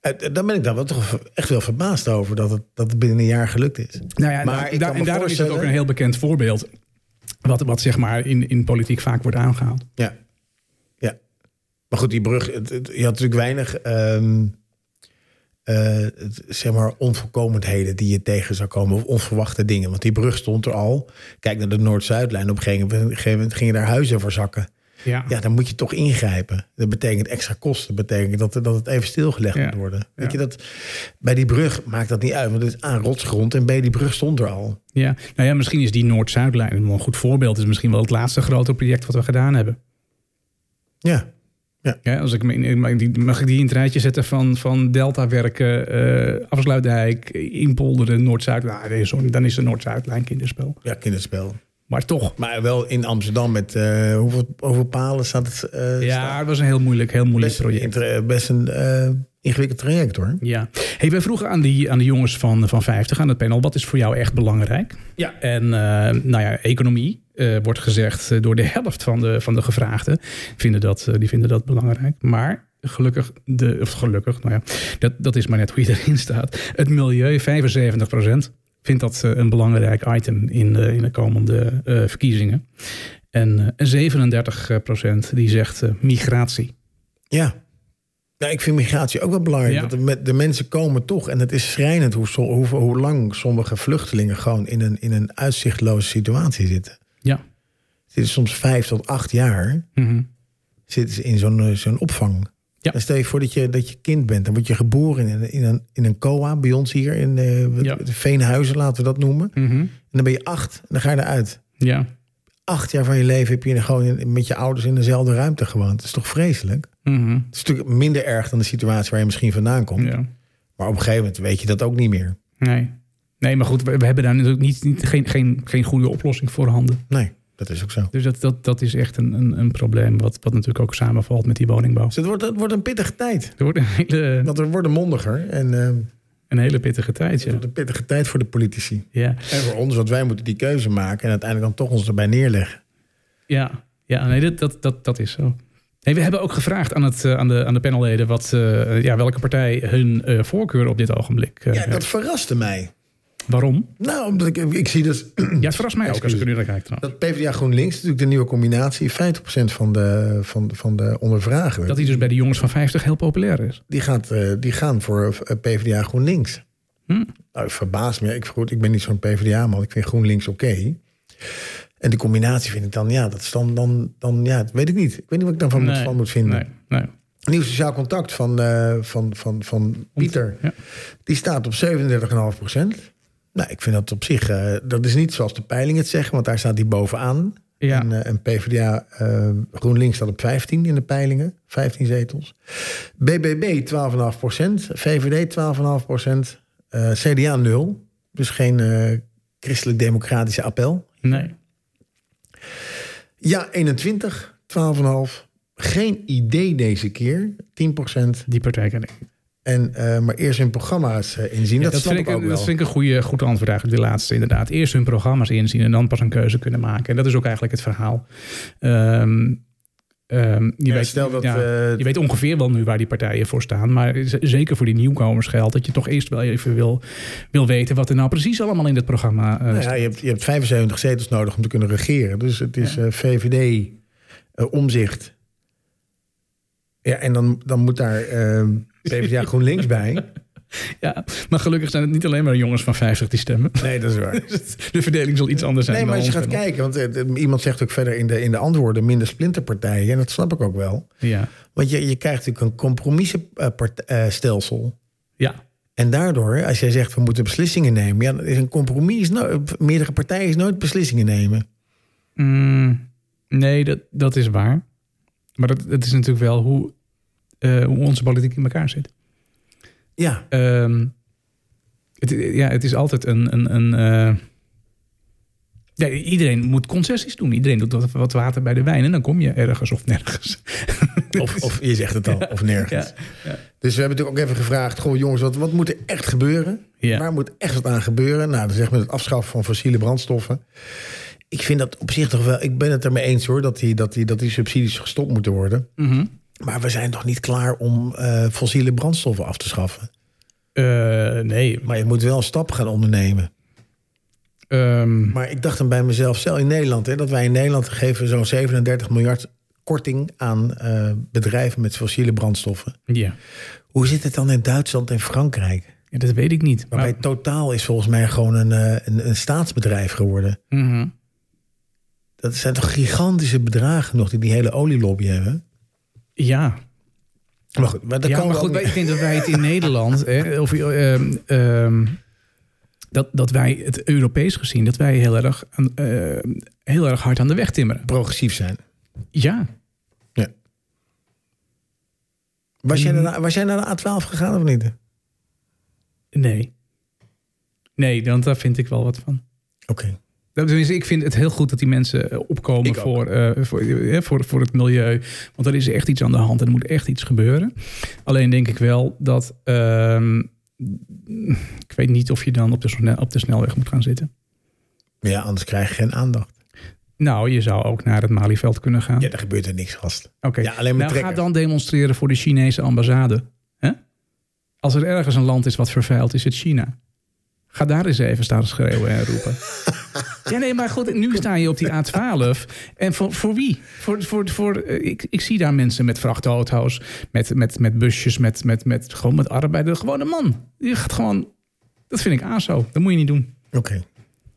Speaker 2: Eh, Daar ben ik dan wel toch echt wel verbaasd over dat het, dat het binnen een jaar gelukt is.
Speaker 1: Nou ja,
Speaker 2: Maar
Speaker 1: da-
Speaker 2: ik
Speaker 1: da-
Speaker 2: kan me
Speaker 1: en daarom is het ook
Speaker 2: voorstellen-
Speaker 1: een heel bekend voorbeeld. Wat, wat zeg maar in, in politiek vaak wordt aangehaald.
Speaker 2: Ja. ja. Maar goed, die brug, het, het- je had natuurlijk weinig ehm, eh, het- zeg maar onvolkomenheden die je tegen zou komen. Of onverwachte dingen. Want die brug stond er al. Kijk naar de Noord-Zuidlijn. Op een gegeven moment- op een gegeven moment gingen daar huizen voor zakken.
Speaker 1: Ja.
Speaker 2: Ja, dan moet je toch ingrijpen. Dat betekent extra kosten. Dat betekent dat, dat het even stilgelegd
Speaker 1: Ja.
Speaker 2: moet worden.
Speaker 1: Ja.
Speaker 2: Weet je, dat, bij die brug maakt dat niet uit. Want het is A, rotsgrond. En B, die brug stond er al.
Speaker 1: Ja, nou ja, misschien is die Noord-Zuidlijn wel een goed voorbeeld. Het is misschien wel het laatste grote project wat we gedaan hebben.
Speaker 2: Ja.
Speaker 1: Ja, als ik me in- in- die- mag ik die in het rijtje zetten van, van Delta-werken, eh Afsluitdijk, Inpolderen, Noord-Zuid. Nou, nee, sorry, dan is de Noord-Zuidlijn kinderspel.
Speaker 2: Ja, kinderspel.
Speaker 1: Maar toch.
Speaker 2: Maar wel in Amsterdam met eh, hoeveel, hoeveel palen staat het? eh,
Speaker 1: Ja,
Speaker 2: staat-
Speaker 1: het was een heel moeilijk, heel moeilijk
Speaker 2: best een,
Speaker 1: project.
Speaker 2: inter- best een eh, ingewikkeld traject hoor.
Speaker 1: Ja. Hey, wij vroegen aan, die, aan de jongens van, van 50, aan het panel, wat is voor jou echt belangrijk?
Speaker 2: Ja.
Speaker 1: En eh, nou ja, economie eh, wordt gezegd eh, door de helft van de, van de gevraagden. Vinden dat, eh, die vinden dat belangrijk. Maar gelukkig, de, of gelukkig, nou ja, dat, dat is maar net hoe je [laughs] erin staat. Het milieu, 75% vindt dat eh, een belangrijk item in, de- in de komende eh, verkiezingen. En eh, 37% die zegt eh, migratie.
Speaker 2: Ja. Nou, ik vind migratie ook wel belangrijk.
Speaker 1: Ja.
Speaker 2: Want de, me- de mensen komen toch. En het is schrijnend hoe, so- hoe, hoe lang sommige vluchtelingen gewoon in een, in een uitzichtloze situatie zitten.
Speaker 1: Ja.
Speaker 2: Ze Zitten soms vijf tot acht jaar
Speaker 1: Mhm.
Speaker 2: zitten ze in zo'n eh, zo'n opvang.
Speaker 1: Ja.
Speaker 2: En stel je voor dat je, dat je kind bent. Dan word je geboren in, een- in, een, in een COA bij ons hier in eh,
Speaker 1: Ja.
Speaker 2: de Veenhuizen, laten we dat noemen.
Speaker 1: Mhm.
Speaker 2: En dan ben je acht en dan ga je eruit.
Speaker 1: Ja.
Speaker 2: Acht jaar van je leven heb je gewoon in- met je ouders in dezelfde ruimte gewoond. Dat is toch vreselijk?
Speaker 1: Mhm.
Speaker 2: Het is natuurlijk minder erg dan de situatie waar je misschien vandaan komt.
Speaker 1: ja.
Speaker 2: Maar op een gegeven moment weet je dat ook niet meer.
Speaker 1: Nee. Nee, maar goed, we, we hebben daar natuurlijk niet, niet, geen, geen, geen goede oplossing voor handen.
Speaker 2: Nee, dat is ook zo.
Speaker 1: Dus dat, dat, dat is echt een, een, een probleem, wat, wat natuurlijk ook samenvalt met die woningbouw.
Speaker 2: Dus het wordt, het wordt een pittige tijd.
Speaker 1: Het wordt een hele,
Speaker 2: Want we worden mondiger. En eh,
Speaker 1: een hele pittige tijd.
Speaker 2: het
Speaker 1: Ja.
Speaker 2: wordt een pittige tijd voor de politici.
Speaker 1: Ja.
Speaker 2: En voor ons, want wij moeten die keuze maken. En uiteindelijk dan toch ons erbij neerleggen.
Speaker 1: Ja, ja nee, dat, dat, dat, dat is zo. Nee, we hebben ook gevraagd aan, het, eh, aan, de, aan de panelleden wat, eh, ja, welke partij hun eh, voorkeur op dit ogenblik eh,
Speaker 2: Ja, dat verraste mij.
Speaker 1: Waarom?
Speaker 2: Nou, omdat ik, ik zie dus
Speaker 1: Ja, het verrast mij ook als ik er nu naar kijk trouwens.
Speaker 2: dat PvdA GroenLinks, natuurlijk de nieuwe combinatie, 50% van de, van, van de ondervragen.
Speaker 1: Dat hij dus bij de jongens van 50 heel populair is.
Speaker 2: die, gaat, eh, die gaan voor eh, PvdA GroenLinks.
Speaker 1: Hm.
Speaker 2: Nou, verbaast me. Ik, goed, ik ben niet zo'n PvdA-man. Ik vind GroenLinks oké. En de combinatie vind ik dan, ja, dat is dan, dan, dan ja, dat weet ik niet. Ik weet niet wat ik daarvan moet,
Speaker 1: Nee,
Speaker 2: van moet vinden.
Speaker 1: Nee, nee.
Speaker 2: Nieuw Sociaal Contact van, eh, van, van, van Pieter,
Speaker 1: Ja.
Speaker 2: die staat op 37,5 procent. Nou, ik vind dat op zich, eh, dat is niet zoals de peiling het zeggen, want daar staat die bovenaan.
Speaker 1: Ja.
Speaker 2: En, eh, en PvdA eh, GroenLinks staat op 15 in de peilingen, 15 zetels. BBB 12,5 VVD 12,5 eh, CDA 0. Dus geen eh, christelijk-democratische appel.
Speaker 1: nee.
Speaker 2: Ja, 21, 12,5. Geen idee deze keer, 10
Speaker 1: Die partij ken ik.
Speaker 2: En, eh, maar eerst hun programma's eh, inzien,
Speaker 1: Ja,
Speaker 2: dat, snap
Speaker 1: vind
Speaker 2: ik ook
Speaker 1: een-
Speaker 2: wel.
Speaker 1: Dat vind ik een goede, goed antwoord eigenlijk, die laatste inderdaad. Eerst hun programma's inzien en dan pas een keuze kunnen maken. En dat is ook eigenlijk het verhaal. Ehm, ehm, je,
Speaker 2: Ja,
Speaker 1: weet,
Speaker 2: stel dat,
Speaker 1: ja,
Speaker 2: eh,
Speaker 1: je weet ongeveer wel nu waar die partijen voor staan. Maar z- zeker voor die nieuwkomers geldt dat je toch eerst wel even wil, wil weten... wat er nou precies allemaal in dit programma eh,
Speaker 2: Nou ja,
Speaker 1: staat.
Speaker 2: je, hebt, je hebt 75 zetels nodig om te kunnen regeren. Dus het is eh, VVD, eh, omzicht. Ja, en dan, dan moet daar eh, [laughs] PvdA GroenLinks bij.
Speaker 1: Ja, maar gelukkig zijn het niet alleen maar jongens van 50 die stemmen. [laughs]
Speaker 2: Nee, dat is [laughs] waar.
Speaker 1: De verdeling zal iets anders zijn.
Speaker 2: Nee, maar
Speaker 1: dan
Speaker 2: als je
Speaker 1: ons
Speaker 2: gaat
Speaker 1: panel.
Speaker 2: kijken, want eh, eh, iemand zegt ook verder in de, in de antwoorden minder splinterpartijen. En dat snap ik ook wel.
Speaker 1: Ja,
Speaker 2: Want je, je krijgt natuurlijk een eh, compromissenstelsel.
Speaker 1: ja.
Speaker 2: En daardoor, als jij zegt we moeten beslissingen nemen, ja, dan is een compromis. is no- meerdere partijen is nooit beslissingen nemen.
Speaker 1: Mm, nee, dat, dat is waar. Maar dat, dat is natuurlijk wel hoe, eh, hoe onze politiek in elkaar zit.
Speaker 2: Ja,
Speaker 1: Ehm, het, ja, het is altijd een. een, een eh, ja, iedereen moet concessies doen. Iedereen doet wat, wat water bij de wijn. En dan kom je ergens of nergens.
Speaker 2: of, of je zegt [laughs] het al, of nergens.
Speaker 1: [laughs] Ja,
Speaker 2: Dus we hebben natuurlijk ook even gevraagd: goh, jongens, wat, wat moet er echt gebeuren?
Speaker 1: Ja.
Speaker 2: Waar moet echt wat aan gebeuren? Nou, dan zegt men het afschaffen van fossiele brandstoffen. Ik vind dat op zich toch wel. Ik ben het ermee eens hoor, dat die, dat die, dat die subsidies gestopt moeten worden.
Speaker 1: Mhm.
Speaker 2: Maar we zijn nog niet klaar om eh, fossiele brandstoffen af te schaffen.
Speaker 1: Eh, nee.
Speaker 2: Maar je moet wel een stap gaan ondernemen.
Speaker 1: Ehm,
Speaker 2: Maar ik dacht dan bij mezelf, stel in Nederland, hè, dat wij in Nederland geven zo'n 37 miljard korting aan eh, bedrijven met fossiele brandstoffen.
Speaker 1: ja.
Speaker 2: Hoe zit het dan in Duitsland en Frankrijk?
Speaker 1: ja, dat weet ik niet.
Speaker 2: Waarbij
Speaker 1: Maar-
Speaker 2: Totaal is volgens mij gewoon een, eh, een, een staatsbedrijf geworden.
Speaker 1: Mhm.
Speaker 2: Dat Dat zijn toch gigantische bedragen nog die die hele olielobby hebben?
Speaker 1: Ja,
Speaker 2: Maar goed, maar daar
Speaker 1: ja,
Speaker 2: komen
Speaker 1: maar
Speaker 2: we
Speaker 1: goed,
Speaker 2: ook
Speaker 1: wij- ik denk dat wij het in Nederland, hè, of, ehm, ehm, dat, dat wij het Europees gezien, dat wij heel erg, aan- ehm, heel erg hard aan de weg timmeren.
Speaker 2: progressief zijn.
Speaker 1: Ja.
Speaker 2: Ja. Was, jij naar, de- was jij naar de A12 gegaan of niet? Oké.
Speaker 1: Nee. Nee, want daar vind ik wel wat van. Dat- Tenminste, ik vind het heel goed dat die mensen eh, opkomen
Speaker 2: Ik ook.
Speaker 1: voor, eh, voor, eh, voor, voor het milieu. Want er is echt iets aan de hand en er moet echt iets gebeuren. Alleen denk ik wel dat. ehm, ik weet niet of je dan op de, sne- op de snelweg moet gaan zitten.
Speaker 2: Maar ja, anders krijg je geen aandacht.
Speaker 1: Nou, je zou ook naar het Malieveld kunnen gaan.
Speaker 2: Ja, daar gebeurt er niks, gast.
Speaker 1: Oké,
Speaker 2: Ja, alleen maar
Speaker 1: nou ga
Speaker 2: trekkers.
Speaker 1: dan demonstreren voor de Chinese ambassade. hè? Als er ergens een land is wat vervuild, is het China. Ga daar eens even staan schreeuwen en
Speaker 2: [laughs]
Speaker 1: roepen. ja, nee, maar goed, nu sta je op die A12. En voor, voor wie? Voor, voor, voor, eh, ik, ik zie daar mensen met vrachtauto's, met, met, met busjes, met, met, met, gewoon met arbeider. Gewoon een man. Je gaat gewoon... Dat vind ik aso. Dat moet je niet doen.
Speaker 2: Oké.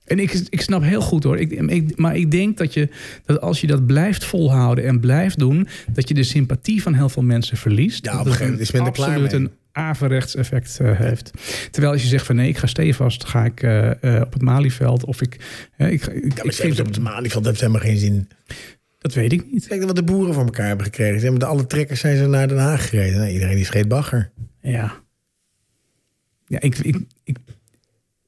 Speaker 1: En ik, ik snap heel goed hoor. Ik, ik, maar ik denk dat, je, dat als je dat blijft volhouden en blijft doen, dat je de sympathie van heel veel mensen verliest.
Speaker 2: Ja,
Speaker 1: Dat
Speaker 2: op een gegeven
Speaker 1: het
Speaker 2: moment is men er klaar
Speaker 1: absoluut
Speaker 2: mee.
Speaker 1: een averechts effect eh, heeft. Terwijl als je zegt van nee, ik ga stevast, ga ik eh, eh, op het Malieveld of ik. hè, ik, ik,
Speaker 2: Ja,
Speaker 1: ik vind
Speaker 2: maar zelfs op het Malieveld heeft helemaal geen zin.
Speaker 1: dat weet ik niet.
Speaker 2: Kijk wat de boeren voor elkaar hebben gekregen. Ze hebben de alle trekkers zijn ze naar Den Haag gereden. Nou, iedereen die scheet bagger.
Speaker 1: Ja. Ja, ik, ik, ik,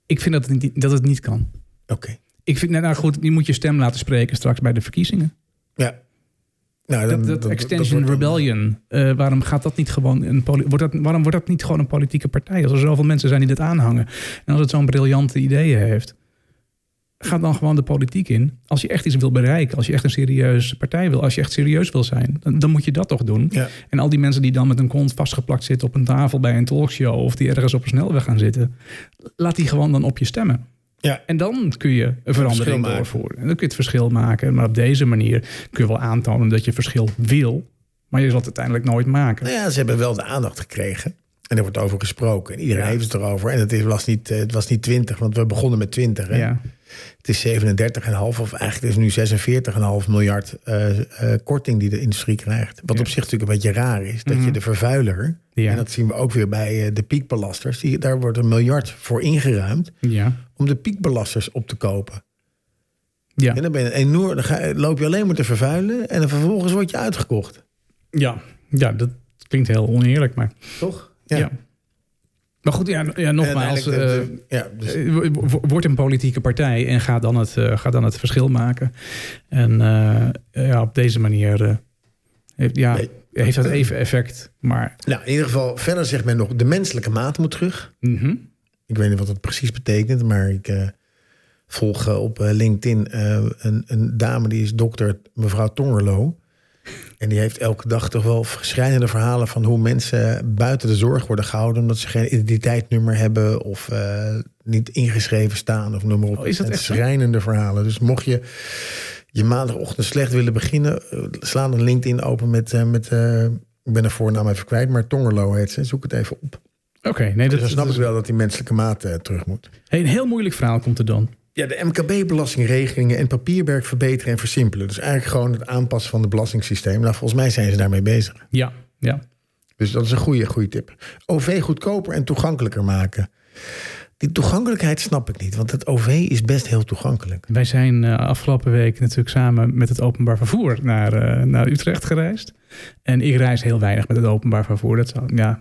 Speaker 1: ik vind dat het, niet, dat het niet kan.
Speaker 2: Oké.
Speaker 1: Ik vind, nou, nou goed, je moet je stem laten spreken straks bij de verkiezingen.
Speaker 2: Ja. Nou, dan-
Speaker 1: Dat, dat,
Speaker 2: dat-
Speaker 1: Extension
Speaker 2: dat wordt dan-
Speaker 1: Rebellion, eh, waarom gaat dat niet gewoon een poli- wordt dat, waarom wordt dat niet gewoon een politieke partij? Als er zoveel mensen zijn die dit aanhangen en als het zo'n briljante ideeën heeft, ga dan gewoon de politiek in. Als je echt iets wil bereiken, als je echt een serieuze partij wil, als je echt serieus wil zijn, dan, dan moet je dat toch doen.
Speaker 2: Ja.
Speaker 1: En al die mensen die dan met een kont vastgeplakt zitten op een tafel bij een talkshow of die ergens op een snelweg gaan zitten, laat die gewoon dan op je stemmen.
Speaker 2: Ja.
Speaker 1: En dan kun je een verandering
Speaker 2: maken.
Speaker 1: doorvoeren. En dan kun je het verschil maken. Maar op deze manier kun je wel aantonen dat je verschil wil. Maar je zal het uiteindelijk nooit maken.
Speaker 2: Nou ja, ze hebben wel de aandacht gekregen. En er wordt over gesproken. En iedereen
Speaker 1: Ja.
Speaker 2: heeft het erover. En het is- was niet, eh, het was niet 20, want we begonnen met 20. Hè?
Speaker 1: Ja.
Speaker 2: Het is 37,5 of eigenlijk is het nu 46,5 miljard eh, eh, korting die de industrie krijgt. Wat
Speaker 1: Ja. Mhm.
Speaker 2: op zich natuurlijk een beetje raar is. Dat je de vervuiler,
Speaker 1: Ja.
Speaker 2: en dat zien we ook weer bij eh, de piekbelasters. Die, daar wordt een miljard voor ingeruimd
Speaker 1: Ja.
Speaker 2: om de piekbelasters op te kopen.
Speaker 1: Ja.
Speaker 2: En dan, ben je enorm, dan ga- loop je alleen maar te vervuilen en dan vervolgens word je uitgekocht.
Speaker 1: ja. ja, dat klinkt heel oneerlijk, maar
Speaker 2: Toch?
Speaker 1: ja. Maar goed, ja, ja nogmaals.
Speaker 2: En uiteindelijk
Speaker 1: eh,
Speaker 2: de- de- ja, dus
Speaker 1: eh, wo- wo- Word een politieke partij en ga dan het, eh, ga dan het verschil maken. En eh, ja, op deze manier eh, heeft, ja,
Speaker 2: Nee.
Speaker 1: heeft dat even effect. Maar
Speaker 2: Nou, in ieder geval, verder zegt men nog, de menselijke maat moet terug.
Speaker 1: mhm.
Speaker 2: Ik weet niet wat dat precies betekent, maar ik eh, volg eh, op eh, LinkedIn eh, een, een dame die is dokter, mevrouw Tongerlo. En die heeft elke dag toch wel verschrijnende verhalen van hoe mensen buiten de zorg worden gehouden. omdat ze geen identiteitsnummer hebben of eh, niet ingeschreven staan of noem maar op.
Speaker 1: Oh, is dat
Speaker 2: Het
Speaker 1: echt zo?
Speaker 2: schrijnende verhalen. Dus mocht je je maandagochtend slecht willen beginnen, eh, sla dan LinkedIn open met. eh, met eh, ik ben haar voornaam even kwijt, maar Tongerlo heet ze. Zoek het even op.
Speaker 1: oké, nee, dat,
Speaker 2: Dus dan snap
Speaker 1: dat
Speaker 2: ik
Speaker 1: is
Speaker 2: wel dat die menselijke maat eh, terug moet.
Speaker 1: een heel moeilijk verhaal komt er dan.
Speaker 2: Ja, de MKB-belastingregelingen en papierwerk verbeteren en versimpelen. Dus eigenlijk gewoon het aanpassen van het belastingssysteem. Nou, volgens mij zijn ze daarmee bezig.
Speaker 1: Ja, ja.
Speaker 2: Dus dat is een goede, goede tip. OV goedkoper en toegankelijker maken. Die toegankelijkheid snap ik niet, want het OV is best heel toegankelijk.
Speaker 1: Wij zijn eh, afgelopen week natuurlijk samen met het openbaar vervoer naar, eh, naar Utrecht gereisd. En ik reis heel weinig met het openbaar vervoer. Dat zou, ja.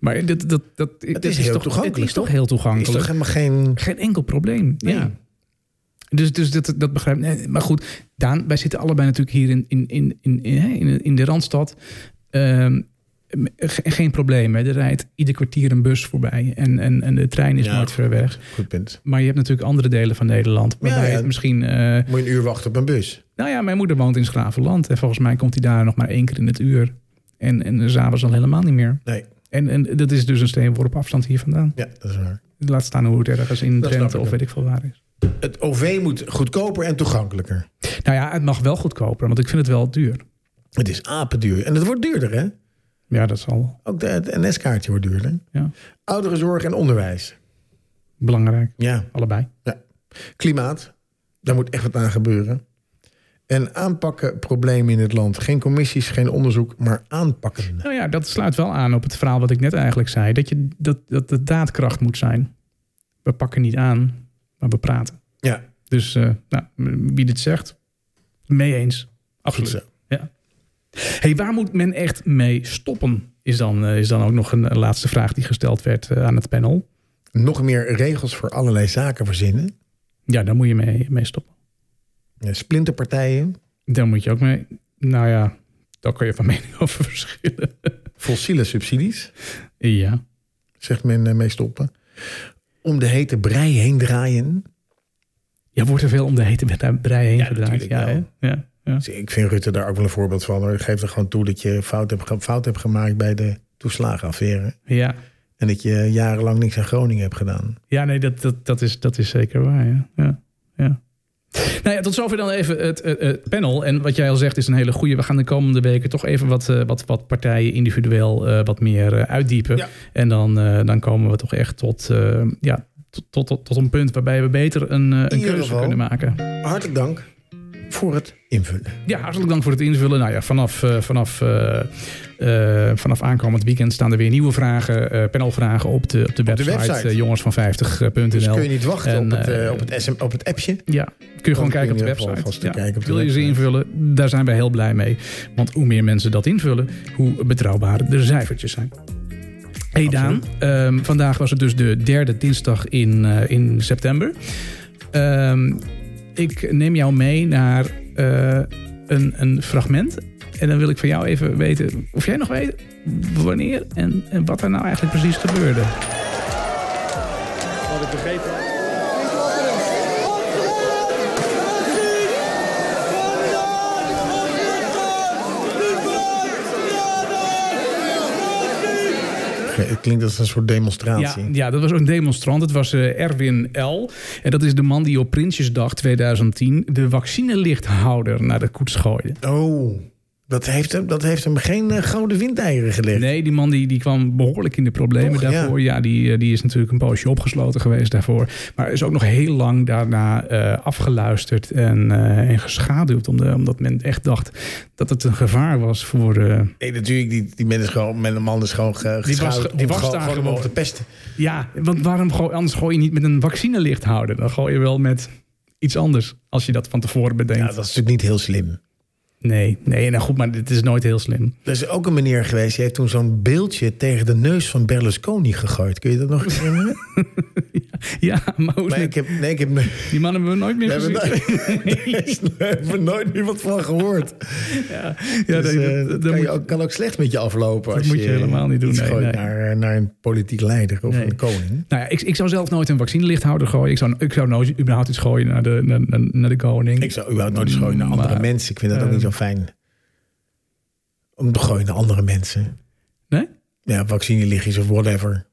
Speaker 1: Maar dit, dat, dat, dit
Speaker 2: is heel
Speaker 1: toch,
Speaker 2: toegankelijk,
Speaker 1: Het is toch
Speaker 2: toch?
Speaker 1: heel
Speaker 2: Er is
Speaker 1: toegankelijk.
Speaker 2: toch helemaal geen.
Speaker 1: Geen enkel probleem.
Speaker 2: Nee.
Speaker 1: Ja. Dus, dus dat, dat begrijp ik. Nee, maar goed, Daan, wij zitten allebei natuurlijk hier in, in, in, in, in, hè, in, in de Randstad. Ehm, ge- geen probleem. Hè. Er rijdt ieder kwartier een bus voorbij. En, en, en de trein is
Speaker 2: Ja.
Speaker 1: nooit ver weg.
Speaker 2: Goed punt.
Speaker 1: Maar je hebt natuurlijk andere delen van Nederland. Waarbij
Speaker 2: ja.
Speaker 1: het misschien... eh,
Speaker 2: Moet je een uur wachten op een bus?
Speaker 1: nou ja, mijn moeder woont in Schravenland. En volgens mij komt hij daar nog maar één keer in het uur. En, en s'avonds al helemaal niet meer.
Speaker 2: Nee.
Speaker 1: En, en dat is dus een steenworp afstand hier vandaan.
Speaker 2: Ja, dat is waar.
Speaker 1: Laat staan hoe het ergens in
Speaker 2: Dat snap
Speaker 1: Drenthe
Speaker 2: ik
Speaker 1: of
Speaker 2: ook.
Speaker 1: weet ik veel waar is.
Speaker 2: Het OV moet goedkoper en toegankelijker.
Speaker 1: Nou ja, het mag wel goedkoper, want ik vind het wel duur.
Speaker 2: Het is apenduur. En het wordt duurder, hè?
Speaker 1: Ja, dat zal wel.
Speaker 2: Ook de- het NS-kaartje wordt duurder.
Speaker 1: Ja.
Speaker 2: Ouderenzorg en onderwijs.
Speaker 1: Belangrijk,
Speaker 2: Ja.
Speaker 1: allebei.
Speaker 2: ja. Klimaat. Daar moet echt wat aan gebeuren. En aanpakken problemen in het land. Geen commissies, geen onderzoek, maar aanpakken.
Speaker 1: Nou ja, dat sluit wel aan op het verhaal wat ik net eigenlijk zei. Dat, je, dat, dat de daadkracht moet zijn. We pakken niet aan, maar we praten.
Speaker 2: Ja,
Speaker 1: Dus eh, nou, wie dit zegt, mee eens. Absoluut.
Speaker 2: Goed
Speaker 1: Ja. Hey, waar moet men echt mee stoppen? Is dan, eh, is dan ook nog een eh, laatste vraag die gesteld werd eh, aan het panel.
Speaker 2: nog meer regels voor allerlei zaken verzinnen.
Speaker 1: Ja, daar moet je mee, mee stoppen.
Speaker 2: Eh, Splinterpartijen,
Speaker 1: Daar moet je ook mee. Nou ja, daar kan je van [laughs] mening over verschillen.
Speaker 2: fossiele subsidies,
Speaker 1: ja.
Speaker 2: zegt men eh, mee stoppen. Om de hete brei heen draaien.
Speaker 1: Ja, wordt er veel om de hete wet- brei heen
Speaker 2: Ja,
Speaker 1: gedraaid.
Speaker 2: natuurlijk
Speaker 1: Ja,
Speaker 2: wel.
Speaker 1: hè? ja, ja.
Speaker 2: Dus ik vind Rutte daar ook wel een voorbeeld van. Hij geeft er gewoon toe dat je fout hebt, ge- fout hebt gemaakt bij de toeslagenaffaire.
Speaker 1: ja.
Speaker 2: En dat je jarenlang niks aan Groningen hebt gedaan.
Speaker 1: Ja, nee, dat, dat, dat, is, dat is zeker waar. Ja. Ja. Ja. Nou ja, tot zover dan even het, het, het panel. En wat jij al zegt is een hele goede. We gaan de komende weken toch even wat, eh, wat, wat partijen individueel eh, wat meer eh, uitdiepen.
Speaker 2: Ja.
Speaker 1: En dan, eh, dan komen we toch echt tot, eh, ja, tot, tot, tot, tot een punt waarbij we beter een, eh, een
Speaker 2: ieder
Speaker 1: keuze
Speaker 2: geval.
Speaker 1: kunnen maken.
Speaker 2: Hartelijk dank voor het invullen.
Speaker 1: Ja, hartelijk dank voor het invullen. Nou ja, vanaf, eh, vanaf, eh, eh, vanaf aankomend weekend staan er weer nieuwe vragen, eh, panelvragen op de, op de website,
Speaker 2: website.
Speaker 1: eh, jongensvan50.nl.
Speaker 2: Dus kun je niet wachten
Speaker 1: En,
Speaker 2: op, het, eh,
Speaker 1: eh,
Speaker 2: op, het SM, op het appje.
Speaker 1: Ja, kun je gewoon kijken op de
Speaker 2: kun je alvast
Speaker 1: website.
Speaker 2: te
Speaker 1: Ja,
Speaker 2: kijken op de
Speaker 1: wil je ze
Speaker 2: website.
Speaker 1: invullen? Daar zijn wij heel blij mee. Want hoe meer mensen dat invullen, hoe betrouwbaarder de cijfertjes zijn. Hey Daan, ehm, vandaag was het dus de derde dinsdag in, eh, in september. Ehm, ik neem jou mee naar eh, een, een fragment. En dan wil ik van jou even weten of jij nog weet wanneer en, en wat er nou eigenlijk precies gebeurde.
Speaker 3: Had ik begrepen.
Speaker 2: Het klinkt als een soort demonstratie.
Speaker 1: Ja, ja, dat was ook een demonstrant. Het was eh, Erwin L. En dat is de man die op Prinsjesdag 2010 de vaccinelichthouder naar de koets gooide.
Speaker 2: Oh, dat heeft, hem- dat heeft hem geen eh, gouden windeieren gelegd.
Speaker 1: Nee, die man die, die kwam behoorlijk in de problemen
Speaker 2: Toch, ja.
Speaker 1: daarvoor. Ja, die, eh, die is natuurlijk een poosje opgesloten geweest daarvoor. Maar is ook nog heel lang daarna eh, afgeluisterd en, eh, en geschaduwd. Omdat, omdat men echt dacht dat het een gevaar was voor... eh,
Speaker 2: Nee, natuurlijk, die, die man is gewoon, men- de man is gewoon ge-
Speaker 1: Die was
Speaker 2: geschout
Speaker 1: ge- die
Speaker 2: om
Speaker 1: was
Speaker 2: gewoon,
Speaker 1: daar
Speaker 2: gewoon om
Speaker 1: gewoon.
Speaker 2: op te pesten.
Speaker 1: Ja, want waarom gooi, anders gooi je niet met een vaccinelichthouder? Dan gooi je wel met iets anders, als je dat van tevoren bedenkt.
Speaker 2: Ja, dat is natuurlijk niet heel slim.
Speaker 1: Nee, nee, nou goed, maar dit is nooit heel slim. [laughs]
Speaker 2: Er is ook een meneer geweest, die heeft toen zo'n beeldje tegen de neus van Berlusconi gegooid. Kun je dat nog eens herinneren?
Speaker 1: Ja, maar hoe is dit?
Speaker 2: Nee, ik heb, nee, ik heb, we
Speaker 1: die man hebben we nooit meer
Speaker 2: hebben
Speaker 1: gezien. [laughs]
Speaker 2: nooit, [laughs] we hebben nooit meer wat van gehoord.
Speaker 1: [laughs] ja,
Speaker 2: dus,
Speaker 1: nee,
Speaker 2: eh,
Speaker 1: dat-
Speaker 2: dat
Speaker 1: dat
Speaker 2: kan,
Speaker 1: moet
Speaker 2: je
Speaker 1: je-
Speaker 2: ook, kan ook slecht met je aflopen.
Speaker 1: Dat
Speaker 2: als
Speaker 1: moet je helemaal niet doen,
Speaker 2: iets
Speaker 1: nee,
Speaker 2: gooit
Speaker 1: nee.
Speaker 2: Naar, eh, naar een politiek leider of
Speaker 1: Nee.
Speaker 2: een koning.
Speaker 1: nou ja, ik, ik zou zelf nooit een vaccinelichthouder gooien. Ik zou, ik zou nooit überhaupt iets gooien naar de, naar, naar, naar de koning.
Speaker 2: Ik zou überhaupt nooit eens gooien naar andere
Speaker 1: Maar,
Speaker 2: mensen. Ik vind dat ook
Speaker 1: eh,
Speaker 2: niet zo fijn. Om te gooien naar andere mensen.
Speaker 1: Nee?
Speaker 2: Ja, vaccinelichtjes of whatever.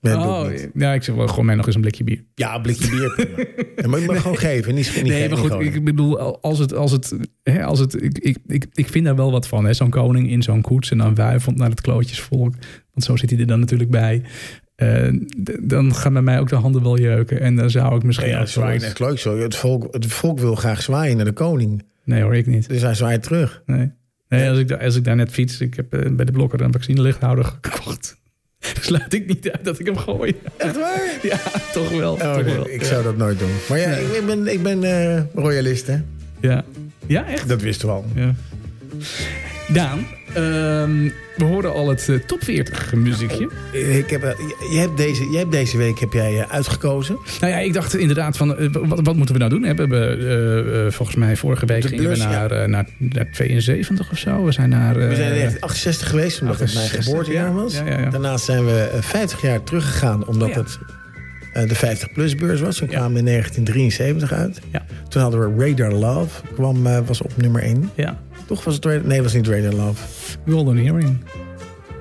Speaker 2: Nee, dat doe
Speaker 1: Oh,
Speaker 2: ik niet.
Speaker 1: ja, ik zeg wel gewoon mij nog eens een blikje bier.
Speaker 2: Ja, een blikje bier. prima.
Speaker 1: [laughs]
Speaker 2: Ja, maar je mag gewoon geven. Niet, niet
Speaker 1: Nee,
Speaker 2: geven,
Speaker 1: maar goed,
Speaker 2: gewoon.
Speaker 1: ik bedoel, als het, als het, hè, als het ik, ik, ik, ik vind daar wel wat van. hè. Zo'n koning in zo'n koets en dan wuivend naar het klootjesvolk. Want zo zit hij er dan natuurlijk bij. Eh, d- dan gaan bij mij ook de handen wel jeuken. En dan zou ik misschien...
Speaker 2: Ja,
Speaker 1: ook wel
Speaker 2: zwaaien
Speaker 1: eens-
Speaker 2: is leuk zo. Het volk, het volk wil graag zwaaien naar de koning.
Speaker 1: Nee hoor, ik niet.
Speaker 2: Dus hij zwaait terug.
Speaker 1: Nee. Nee, als ik, da- als ik daar net fiets, ik heb eh, bij de blokker een vaccinelichthouder gekocht. [laughs] Sluit ik niet uit dat ik hem gooi. [laughs]
Speaker 2: Echt waar?
Speaker 1: Ja, toch wel.
Speaker 2: Oh,
Speaker 1: toch
Speaker 2: nee,
Speaker 1: wel.
Speaker 2: ik zou dat nooit doen. Maar ja, ik ben, ik ben eh, royalist, hè?
Speaker 1: Ja. ja, echt?
Speaker 2: Dat wisten we al.
Speaker 1: Ja. Daan, ehm, we horen al het eh, top 40 muziekje.
Speaker 2: Ik heb, eh, je hebt deze, je hebt deze week heb jij eh, uitgekozen.
Speaker 1: Nou ja, ik dacht inderdaad van, eh, wat, wat moeten we nou doen? Hè, We hebben eh, eh, volgens mij vorige week
Speaker 2: De
Speaker 1: gingen
Speaker 2: beurs,
Speaker 1: we
Speaker 2: ja.
Speaker 1: naar, eh, naar, naar 72 of zo. We zijn naar... eh,
Speaker 2: We zijn echt 68 geweest, omdat het mijn
Speaker 1: 68,
Speaker 2: geboortejaar
Speaker 1: ja.
Speaker 2: was.
Speaker 1: Ja, ja, ja.
Speaker 2: Daarnaast zijn we eh, 50 jaar teruggegaan, omdat
Speaker 1: Ja.
Speaker 2: het eh, de 50-plus-beurs was. We
Speaker 1: Ja.
Speaker 2: kwamen in 1973 uit.
Speaker 1: Ja.
Speaker 2: Toen hadden we Radar Love, kwam, eh, was op nummer 1.
Speaker 1: ja,
Speaker 2: Toch was het Radar... Nee, was niet Radar Love.
Speaker 1: Golden Hearing.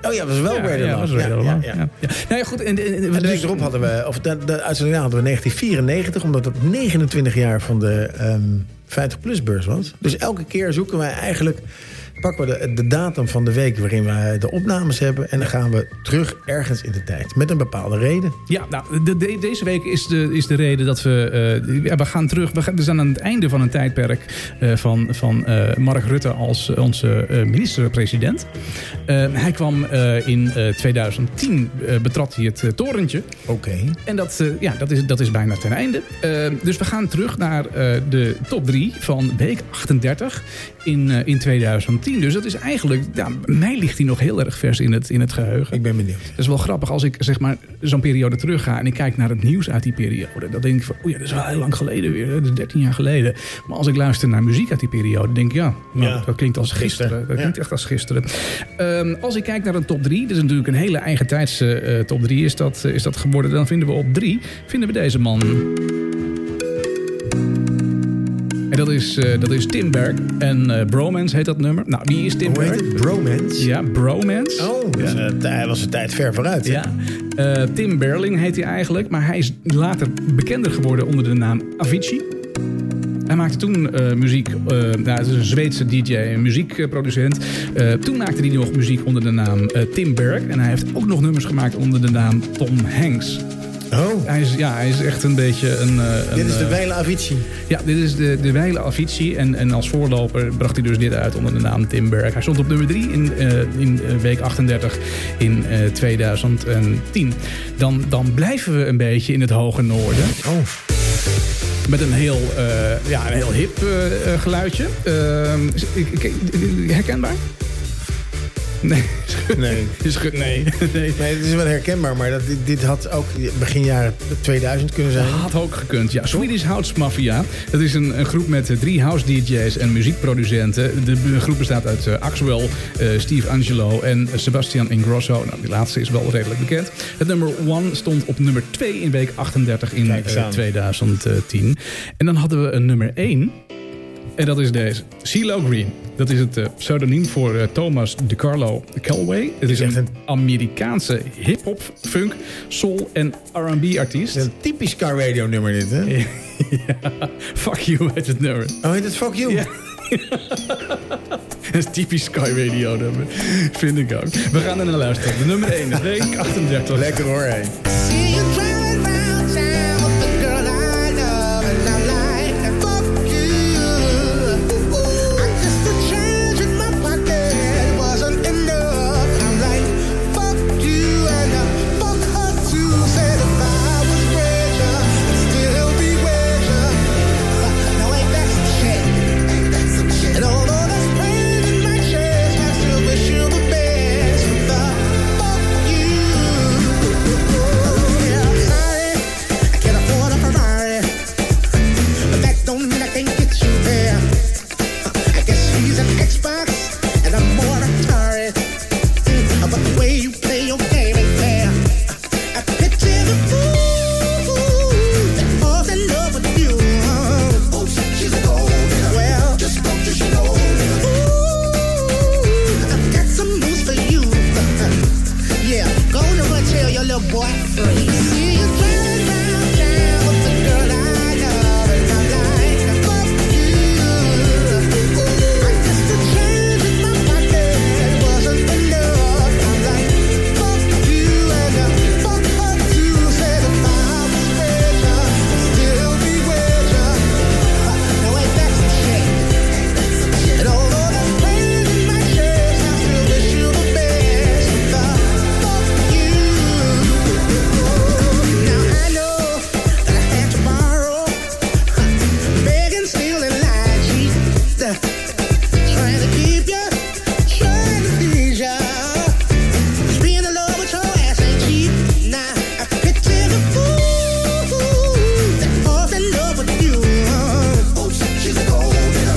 Speaker 2: Oh ja, was wel
Speaker 1: ja,
Speaker 2: Radar
Speaker 1: ja,
Speaker 2: Love.
Speaker 1: was Radar
Speaker 2: Ja,
Speaker 1: Love, Ja,
Speaker 2: ja, ja.
Speaker 1: ja. Nou ja, goed. En, en, en-
Speaker 2: En de
Speaker 1: dus-
Speaker 2: week erop hadden we, of de, de uitzending daarna hadden we 1994, omdat het 29 jaar van de ehm, 50PLUS beurs was. Dus elke keer zoeken wij eigenlijk... pakken we de, de datum van de week waarin we de opnames hebben... en dan gaan we terug ergens in de tijd. Met een bepaalde reden.
Speaker 1: Ja, nou, de- de- deze week is de, is de reden dat we... eh, ja, we gaan terug. We, gaan- we zijn aan het einde van een tijdperk eh, van, van eh, Mark Rutte als onze eh, minister-president. Eh, hij kwam eh, in eh, 2010, eh, betrad hij het eh, torentje.
Speaker 2: Oké.
Speaker 1: En dat, eh, ja, dat, is, dat is bijna ten einde. Eh, dus we gaan terug naar eh, de top 3 van week 38 in, eh, in 2010. Dus dat is eigenlijk, ja, mij ligt die nog heel erg vers in het, in het geheugen.
Speaker 2: Ik ben benieuwd.
Speaker 1: Dat is wel grappig als ik zeg maar zo'n periode terug ga en ik kijk naar het nieuws uit die periode. Dan denk ik van, oei, ja, dat is wel heel lang geleden weer, hè. dat is 13 jaar geleden. Maar als ik luister naar muziek uit die periode, denk ik, ja, nou,
Speaker 2: Ja.
Speaker 1: dat klinkt als gisteren.
Speaker 2: Gisteren,
Speaker 1: Dat
Speaker 2: ja.
Speaker 1: klinkt echt als gisteren. Ehm, als ik kijk naar een top 3, dat is natuurlijk een hele eigen tijdse eh, top 3 is dat, eh, is dat geworden. Dan vinden we op 3, vinden we deze man. En dat is, eh, dat is Tim Berg. En eh, Bromance heet dat nummer. Nou, wie is Tim
Speaker 2: Hoe heet
Speaker 1: Berg?
Speaker 2: het? Bromance?
Speaker 1: Ja, Bromance.
Speaker 2: Oh, dat is, eh, t- hij was de tijd ver vooruit. hè?
Speaker 1: Ja. Eh, Tim Berling heet hij eigenlijk, maar hij is later bekender geworden onder de naam Avicii. Hij maakte toen eh, muziek, eh nou, het is een Zweedse DJ en muziekproducent. Eh, toen maakte hij nog muziek onder de naam eh, Tim Berg. En hij heeft ook nog nummers gemaakt onder de naam Tom Hanks.
Speaker 2: Oh,
Speaker 1: Hij is, ja, hij is echt een beetje een... eh, een,
Speaker 2: dit is de
Speaker 1: eh,
Speaker 2: Weile Avicii.
Speaker 1: ja, dit is de, de Weile Avicii. En, en als voorloper bracht hij dus dit uit onder de naam Tim Berg. Hij stond op nummer 3 in, eh, in eh, week 38 in eh, 2010. Dan, dan blijven we een beetje in het hoge noorden.
Speaker 2: Oh,
Speaker 1: Met een heel, eh, ja, een heel hip eh, eh, geluidje. Ehm, is- ik- ik- ik- herkenbaar? Nee. [laughs]
Speaker 2: nee.
Speaker 1: Je schudt nee. [laughs] nee.
Speaker 2: Nee, het is wel herkenbaar, maar dat, dit, dit had ook begin jaren 2000 kunnen zijn.
Speaker 1: Had ook gekund, ja. Swedish House Mafia. Dat is een, een groep met eh, drie house DJ's en muziekproducenten. De b- groep bestaat uit eh, Axwell, eh, Steve Angelo en Sebastian Ingrosso. Nou, die laatste is wel redelijk bekend. Het nummer One stond op nummer 2 in week 38 in
Speaker 2: Kijk eens
Speaker 1: eh,
Speaker 2: aan.
Speaker 1: 2010. En dan hadden we een nummer 1. En dat is deze. CeeLo Green. Dat is het eh, pseudoniem voor eh, Thomas DeCarlo Calway. Het is
Speaker 2: Echt
Speaker 1: een
Speaker 2: een-
Speaker 1: Amerikaanse hip-hop, funk, soul en RB artiest.
Speaker 2: Het is een typisch car radio nummer dit, hè?
Speaker 1: Ja, fuck you heet het nummer.
Speaker 2: Oh, heet het Fuck You?
Speaker 1: Ja. Dat is typisch Sky Radio nummer. Vind ik ook. We gaan er naar luisteren. De nummer 1, week 38.
Speaker 2: Lekker hoor, hé.
Speaker 3: See you driving round town with the girl I love and I like. And fuck you. I'm just a change in my pocket. It wasn't enough. I'm like, fuck you and I fuck her too. Said if I was richer, I'd still be richer. Now ain't that some shit? Ain't that some shit? And although there's pain in my chest, I still wish you the best. Fuck you. Oh, [laughs]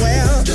Speaker 3: [laughs] uh,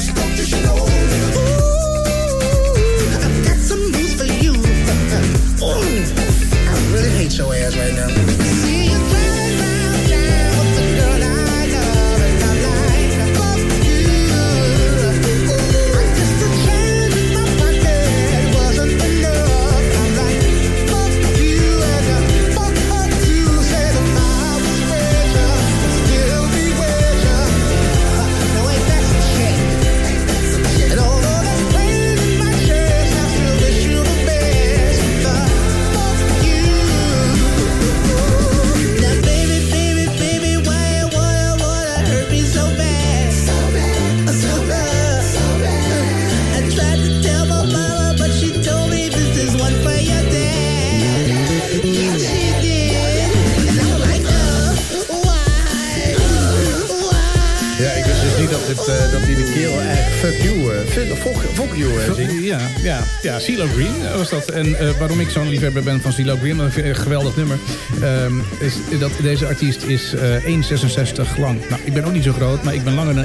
Speaker 2: dat, eh, dat die de kerel eigenlijk fuck you, eh, fuck, fuck- fuck you eh, zingt.
Speaker 1: Ja, ja, ja, CeeLo Green was dat. En eh, waarom ik zo'n liefhebber ben van CeeLo Green, want ik vind het een geweldig nummer, ehm, is dat deze artiest is eh, 1,66 lang. Nou, ik ben ook niet zo groot, maar ik ben langer dan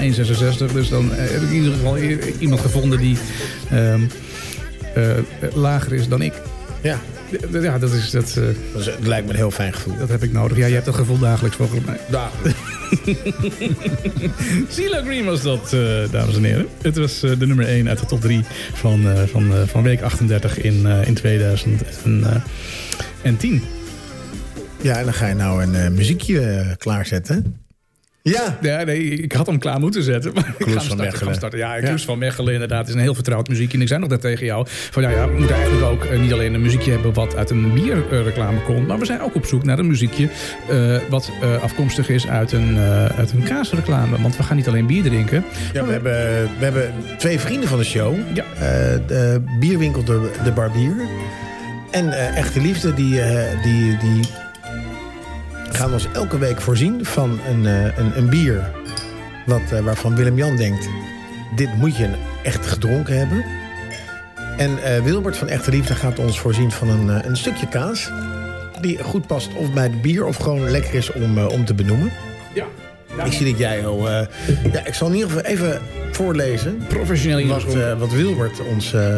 Speaker 1: 1,66. Dus dan eh, heb ik in ieder geval i- iemand gevonden die ehm, eh, lager is dan ik.
Speaker 2: Ja,
Speaker 1: D- d- Ja, dat, is, dat, eh,
Speaker 2: dat, is- dat lijkt me een heel fijn gevoel.
Speaker 1: dat heb ik nodig. Ja, je hebt dat gevoel dagelijks volgens mij.
Speaker 2: Daar.
Speaker 1: CeeLo Green was dat, eh, dames en heren. Het was eh, de nummer 1 uit de top 3 van, eh, van, eh, van week 38 in, eh, in eh, 2010.
Speaker 2: Ja, en dan ga je nou een eh, muziekje eh, klaarzetten. Ja.
Speaker 1: Ja, nee, ik had hem klaar moeten zetten. Maar ik ga hem
Speaker 2: van
Speaker 1: starten, ik ga hem
Speaker 2: Mechelen.
Speaker 1: starten. Ja,
Speaker 2: Ja.
Speaker 1: Kloes van Mechelen inderdaad. is een heel vertrouwd muziekje. En ik zei nog dat tegen jou. Van ja, ja we moeten eigenlijk ook eh, niet alleen een muziekje hebben... wat uit een bierreclame komt. Maar we zijn ook op zoek naar een muziekje... eh, wat eh, afkomstig is uit een, eh, uit een kaasreclame. Want we gaan niet alleen bier drinken.
Speaker 2: Ja, we hebben, we hebben twee vrienden van de show.
Speaker 1: Ja.
Speaker 2: Eh, de bierwinkel de, de Barbier. En eh, Echte Liefde, die, eh, die, die gaan ons elke week voorzien van een, eh, een, een bier. Wat, eh, waarvan Willem-Jan denkt, dit moet je echt gedronken hebben. En eh, Wilbert van Echte Liefde gaat ons voorzien van een, eh, een stukje kaas. Die goed past of bij het bier of gewoon lekker is om, eh, om te benoemen.
Speaker 1: ja.
Speaker 2: Ik zie dat jij al... eh, ja, ik zal in ieder geval even voorlezen
Speaker 1: Professioneel in
Speaker 2: wat, eh, wat Wilbert ons... eh,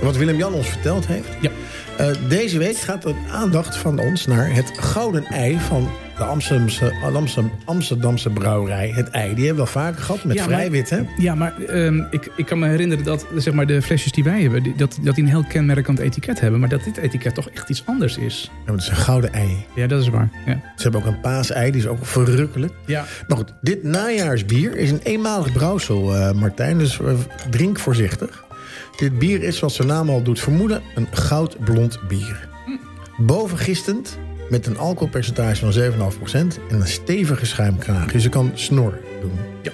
Speaker 2: wat Willem-Jan ons verteld heeft.
Speaker 1: Ja.
Speaker 2: Eh, deze week gaat de aandacht van ons naar het gouden ei van de Amsterdamse, Amsterdam- Amsterdamse brouwerij. Het ei, die hebben we wel vaker gehad met
Speaker 1: Ja, maar-
Speaker 2: vrijwit, hè?
Speaker 1: Ja, maar ehm, ik, ik kan me herinneren dat zeg maar, de flesjes die wij hebben... Die, dat, dat die een heel kenmerkend etiket hebben. Maar dat dit etiket toch echt iets anders is.
Speaker 2: Ja, maar het is een gouden ei.
Speaker 1: Ja, dat is waar. Ja.
Speaker 2: Ze hebben ook een paasei, die is ook verrukkelijk.
Speaker 1: ja.
Speaker 2: Maar goed, dit najaarsbier is een eenmalig brouwsel, eh, Martijn. Dus eh, drink voorzichtig. Dit bier is, zoals zijn naam al doet vermoeden, een goudblond bier. Bovengistend, met een alcoholpercentage van 7,5% en een stevige schuimkraag. Dus je kan snor doen.
Speaker 1: Ja.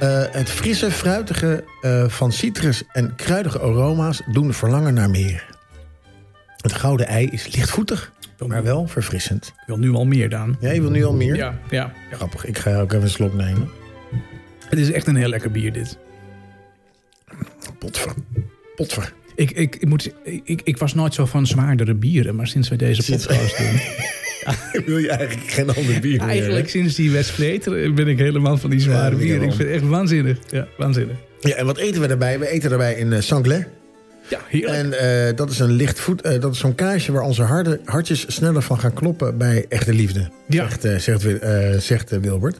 Speaker 2: Eh, het frisse, fruitige eh, van citrus en kruidige aroma's doen verlangen naar meer. Het gouden ei is lichtvoetig, maar wel verfrissend.
Speaker 1: Ik wil nu al meer, Daan.
Speaker 2: Jij wil nu al meer?
Speaker 1: Ja, ja.
Speaker 2: Grappig, ik ga ook even een slok nemen.
Speaker 1: Het is echt een heel lekker bier, dit.
Speaker 2: Potver. Potver. [laughs]
Speaker 1: Ik, ik, ik, moet, ik, ik was nooit zo van zwaardere bieren, maar sinds wij deze
Speaker 2: Sinds-
Speaker 1: podcast doen...
Speaker 2: Wil je eigenlijk geen ander bier meer?
Speaker 1: [laughs] eigenlijk sinds die Westvleet ben ik helemaal van die
Speaker 2: Ja,
Speaker 1: zware
Speaker 2: ik
Speaker 1: bieren.
Speaker 2: wel.
Speaker 1: Ik vind het echt waanzinnig. Ja, waanzinnig.
Speaker 2: Ja, en wat eten we daarbij? We eten daarbij in eh Sangler.
Speaker 1: Ja, heerlijk.
Speaker 2: En eh, dat is een lichtvoet, eh, dat is zo'n kaasje waar onze harde, hartjes sneller van gaan kloppen bij echte liefde.
Speaker 1: Ja.
Speaker 2: Zegt, eh, zegt, Wil- eh, zegt eh, Wilbert.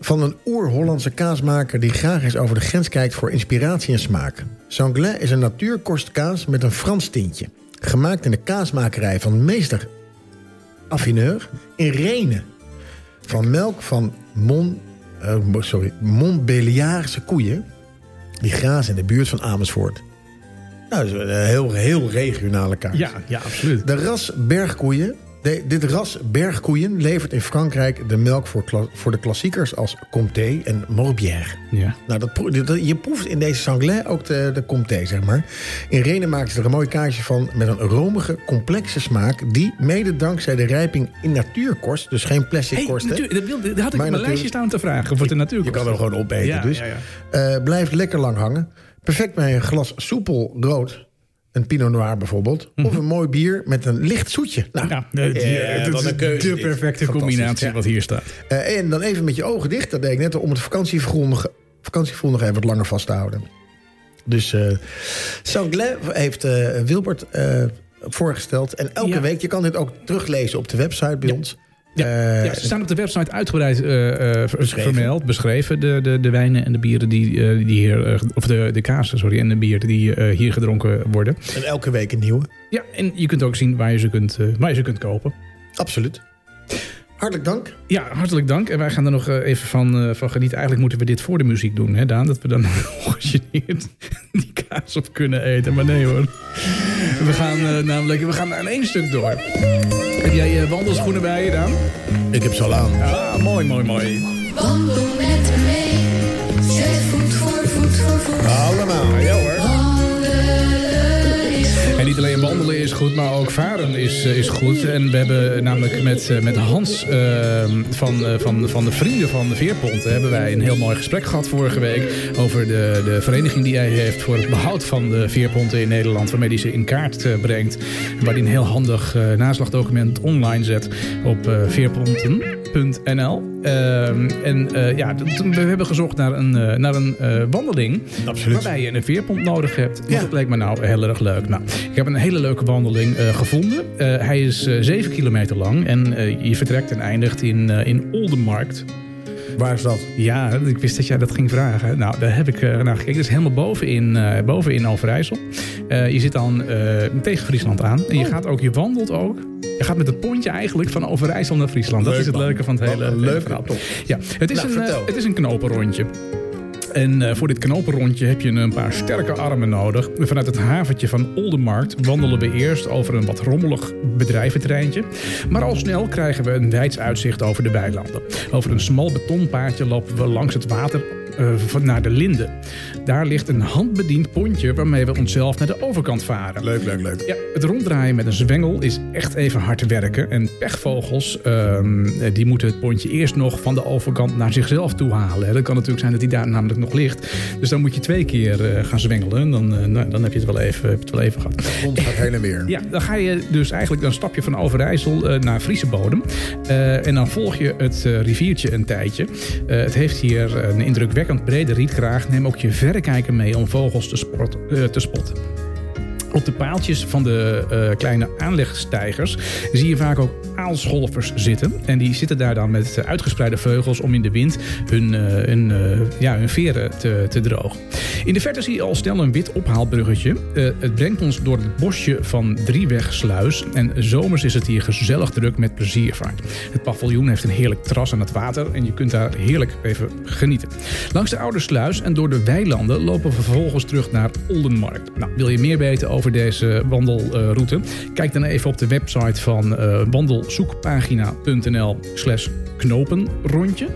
Speaker 2: Van een oer-Hollandse kaasmaker die graag eens over de grens kijkt voor inspiratie en smaak. Sanglais is een natuurkostkaas met een Frans tintje. Gemaakt in de kaasmakerij van meester affineur in Renen. Van melk van Mon, eh, sorry, Montbeliaarse koeien. Die grazen in de buurt van Amersfoort. Nou, dat is een heel, heel regionale kaart.
Speaker 1: ja, ja, absoluut.
Speaker 2: De ras bergkoeien. de- dit ras bergkoeien levert in Frankrijk de melk voor, kla- voor de klassiekers als Comté en Morbière.
Speaker 1: Ja.
Speaker 2: Nou, dat proe- dit- je proeft in deze sanglais ook de, de comté, zeg maar. In Renen maken ze er een mooi kaasje van met een romige, complexe smaak... die mede dankzij de rijping in natuurkorst, dus geen plastic
Speaker 1: Hey,
Speaker 2: korst... hè?
Speaker 1: natuur- dat, wilde, dat had ik op mijn
Speaker 2: natuurlijk-
Speaker 1: lijstje staan te vragen voor de natuur.
Speaker 2: Je kan hem gewoon opeten,
Speaker 1: Ja,
Speaker 2: dus.
Speaker 1: ja, ja.
Speaker 2: Eh, blijft lekker lang hangen. Perfect bij een glas soepel rood. Een Pinot Noir bijvoorbeeld. Of een mooi bier met een licht zoetje. Nou,
Speaker 1: Mhm. Ja, eh, die-
Speaker 2: eh,
Speaker 1: dat
Speaker 2: wat
Speaker 1: is
Speaker 2: een keuze
Speaker 1: de
Speaker 2: dit.
Speaker 1: perfecte
Speaker 2: Fantastisch,
Speaker 1: combinatie
Speaker 2: ja.
Speaker 1: wat hier staat.
Speaker 2: Eh, en dan even met je ogen dicht. Dat deed ik net al, om het vakantiegevoel nog, vakantiegevoel nog even wat langer vast te houden. Dus eh Sanglais heeft eh, Wilbert eh, voorgesteld. En elke
Speaker 1: Ja.
Speaker 2: week, je kan dit ook teruglezen op de website bij ons.
Speaker 1: Ja,
Speaker 2: Eh,
Speaker 1: ja, ze staan op de website uitgebreid eh, eh, ver-
Speaker 2: Beschreven.
Speaker 1: vermeld, beschreven. De, de, de wijnen en de bieren die, eh, die hier, eh, of de, de kaas, sorry, en de bieren die eh, hier gedronken worden.
Speaker 2: En elke week een nieuwe.
Speaker 1: Ja, en je kunt ook zien waar je ze kunt, eh, waar je ze kunt kopen.
Speaker 2: Absoluut. Hartelijk dank.
Speaker 1: Ja, hartelijk dank. En wij gaan er nog eh, even van, eh, van genieten. Eigenlijk moeten we dit voor de muziek doen, hè Daan? Dat we dan [laughs] ongegeneerd die kaas op kunnen eten. Maar nee hoor. We gaan eh, namelijk we gaan aan één stuk door. Heb jij eh, wandelschoenen bij je, Daan?
Speaker 2: Ik heb salam.
Speaker 1: Ah, mooi, mooi, mooi.
Speaker 4: Wandel met me mee. Zet voet voor voet voor voet.
Speaker 2: Allemaal.
Speaker 1: Ja hoor.
Speaker 4: Wandelen is
Speaker 1: En niet alleen een wandelen is goed, maar ook varen is, eh, is goed. En we hebben namelijk met, eh, met Hans eh, van, eh, van, van de Vrienden van de Veerpont... eh, hebben wij een heel mooi gesprek gehad vorige week... over de, de vereniging die hij heeft voor het behoud van de veerponten in Nederland... waarmee hij ze in kaart eh, brengt. En waar hij een heel handig eh, naslagdocument online zet op eh, veerponten.nl. Ehm, en eh, ja, dat- we hebben gezocht naar een, eh, naar een eh, wandeling...
Speaker 2: Absoluut.
Speaker 1: Waarbij je een veerpomp nodig hebt. Want
Speaker 2: Ja.
Speaker 1: Dat leek me nou heel erg leuk. Nou, ik heb een hele leuke wandeling eh, gevonden. Eh, hij is eh 7 kilometer lang. En eh, je vertrekt en eindigt in, eh, in Oldenmarkt.
Speaker 2: Waar is dat?
Speaker 1: Ja, ik wist dat jij dat ging vragen. Nou, daar heb ik eh, naar gekeken. Dat is helemaal boven in, eh, boven in Overijssel. Eh, je zit dan eh, tegen Friesland aan.
Speaker 2: Oh.
Speaker 1: En je gaat ook, je wandelt ook. Je gaat met het pontje eigenlijk van Overijssel naar Friesland.
Speaker 2: Leuk,
Speaker 1: dat is het
Speaker 2: man.
Speaker 1: leuke van het
Speaker 2: Wat
Speaker 1: hele,
Speaker 2: een
Speaker 1: hele
Speaker 2: leuke
Speaker 1: verhaal.
Speaker 2: top.
Speaker 1: Ja, het is,
Speaker 2: Nou,
Speaker 1: een, eh,
Speaker 2: vertel.
Speaker 1: het is een knopenrondje. En eh, voor dit knopenrondje heb je een paar sterke armen nodig. Vanuit het haventje van Oldenmarkt wandelen we eerst over een wat rommelig bedrijventreintje. Maar al snel krijgen we een wijds uitzicht over de weilanden. Over een smal betonpaadje lopen we langs het water eh, van- naar de Linden. Daar ligt een handbediend pontje waarmee we onszelf naar de overkant varen.
Speaker 2: Leuk, leuk, leuk.
Speaker 1: Ja, het ronddraaien met een zwengel is echt even hard werken. En pechvogels, ehm, die moeten het pontje eerst nog van de overkant naar zichzelf toe halen. hè. Dat kan natuurlijk zijn dat die daar namelijk nog ligt. Dus dan moet je twee keer eh, gaan zwengelen. En Dan, eh, nou, dan heb je het wel even, heb je het wel even gehad.
Speaker 2: Ons gaat heen en weer.
Speaker 1: Ja, dan ga je dus eigenlijk dan stap je van Overijssel eh, naar Friese bodem. Eh, en dan volg je het eh, riviertje een tijdje. Eh, het heeft hier een indrukwekkend brede rietgraag. Neem ook je verrekijker mee om vogels te, sport, eh, te spotten. Op de paaltjes van de eh, kleine aanlegstijgers zie je vaak ook aalscholvers zitten. En die zitten daar dan met eh, uitgespreide vleugels om in de wind hun, eh, hun, eh, ja, hun veren te, te drogen. In de verte zie je al snel een wit ophaalbruggetje. Eh, het brengt ons door het bosje van Driewegsluis. En zomers is het hier gezellig druk met pleziervaart. Het paviljoen heeft een heerlijk terras aan het water en je kunt daar heerlijk even genieten. Langs de Oude Sluis en door de weilanden lopen we vervolgens terug naar Oldenmarkt. Nou, wil je meer weten over deze wandelroute? Kijk dan even op de website van eh, wandelzoekpagina.nl slash knopenrondje.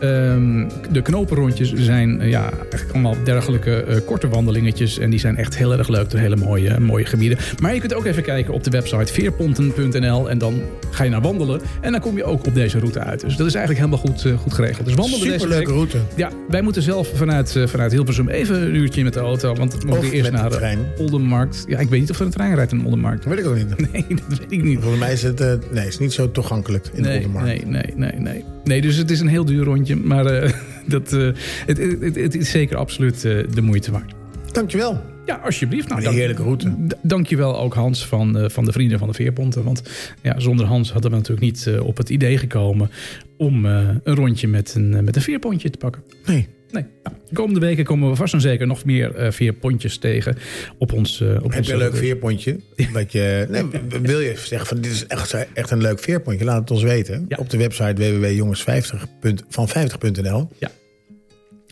Speaker 1: Ehm, de knopenrondjes zijn eh, ja, eigenlijk allemaal dergelijke eh, korte wandelingetjes. En die zijn echt heel erg leuk door hele mooie, eh, mooie gebieden. Maar je kunt ook even kijken op de website veerponten.nl. En dan ga je naar wandelen. En dan kom je ook op deze route uit. Dus dat is eigenlijk helemaal goed, eh, goed geregeld. Dus wandelen deze
Speaker 2: Superleuke
Speaker 1: week-
Speaker 2: route.
Speaker 1: ja, wij moeten zelf vanuit, eh, vanuit Hilversum even een uurtje met de auto. Want we moeten
Speaker 2: Of
Speaker 1: eerst
Speaker 2: met de
Speaker 1: naar eh,
Speaker 2: trein.
Speaker 1: Oldenmarkt. Ja, ik weet niet of er een trein rijdt in Oldenmarkt. [laughs]
Speaker 2: Dat weet ik ook niet.
Speaker 1: Nee, dat weet ik niet.
Speaker 2: Volgens mij is het, eh, nee, is niet zo toegankelijk in de
Speaker 1: Nee,
Speaker 2: Oldenmarkt.
Speaker 1: nee, nee, nee, nee. Nee, dus het is een heel duur rondje. Maar eh, [laughs] dat, eh, het, het, het, het is zeker absoluut eh, de moeite waard.
Speaker 2: Dankjewel.
Speaker 1: Ja, alsjeblieft. Nou,
Speaker 2: Een
Speaker 1: dank-
Speaker 2: heerlijke route.
Speaker 1: d- Dankjewel ook Hans van, eh, van de Vrienden van de Veerponten. Want ja, zonder Hans hadden we natuurlijk niet eh, op het idee gekomen... om eh, een rondje met een, eh, met een veerpontje te pakken.
Speaker 2: Nee.
Speaker 1: Nee. Nou, de komende weken komen we vast en zeker nog meer eh veerpontjes tegen op ons... eh, op
Speaker 2: Heb
Speaker 1: ons
Speaker 2: je een leuk veerpontje? Dat je, nee, w- wil je zeggen van dit is echt, echt een leuk veerpontje? Laat het ons weten.
Speaker 1: Ja.
Speaker 2: Op de website www.jongens50.van50.nl
Speaker 1: Ja.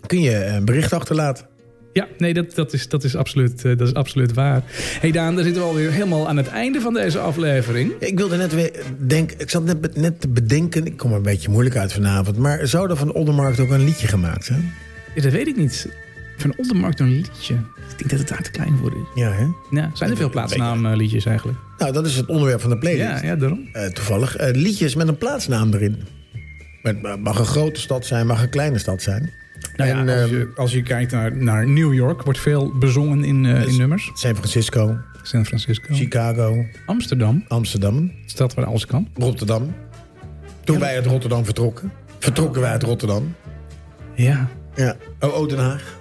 Speaker 2: kun je een bericht achterlaten.
Speaker 1: Ja, nee, dat, dat, is, dat, is absoluut, eh, dat is absoluut waar. hey Daan, daar zitten we alweer helemaal aan het einde van deze aflevering.
Speaker 2: Ik wilde net weer denken, ik zat net, be- net te bedenken, ik kom er een beetje moeilijk uit vanavond, maar zou er van Oldenmarkt ook een liedje gemaakt zijn?
Speaker 1: Ja, dat weet ik niet. Van Oldenmarkt een liedje. Ik denk dat het daar te klein voor is.
Speaker 2: Ja, hè?
Speaker 1: Ja, zijn er veel plaatsnaamliedjes eigenlijk?
Speaker 2: Nou, dat is het onderwerp van de
Speaker 1: Ja,
Speaker 2: playlist.
Speaker 1: ja, daarom.
Speaker 2: Eh, toevallig. eh, liedjes met een plaatsnaam erin. Met, eh, mag een grote stad zijn, mag een kleine stad zijn.
Speaker 1: Nou
Speaker 2: En,
Speaker 1: ja, als,
Speaker 2: ehm,
Speaker 1: je, als je kijkt naar, naar New York, wordt veel bezongen in, eh, in nummers.
Speaker 2: San
Speaker 1: Oh.
Speaker 2: Francisco,
Speaker 1: San Francisco.
Speaker 2: Chicago,
Speaker 1: Amsterdam,
Speaker 2: Amsterdam,
Speaker 1: stad waar alles kan.
Speaker 2: Rotterdam. Toen wij uit Rotterdam vertrokken, vertrokken wij uit Rotterdam.
Speaker 1: Ja,
Speaker 2: Ja. Oh, oh, Den Haag.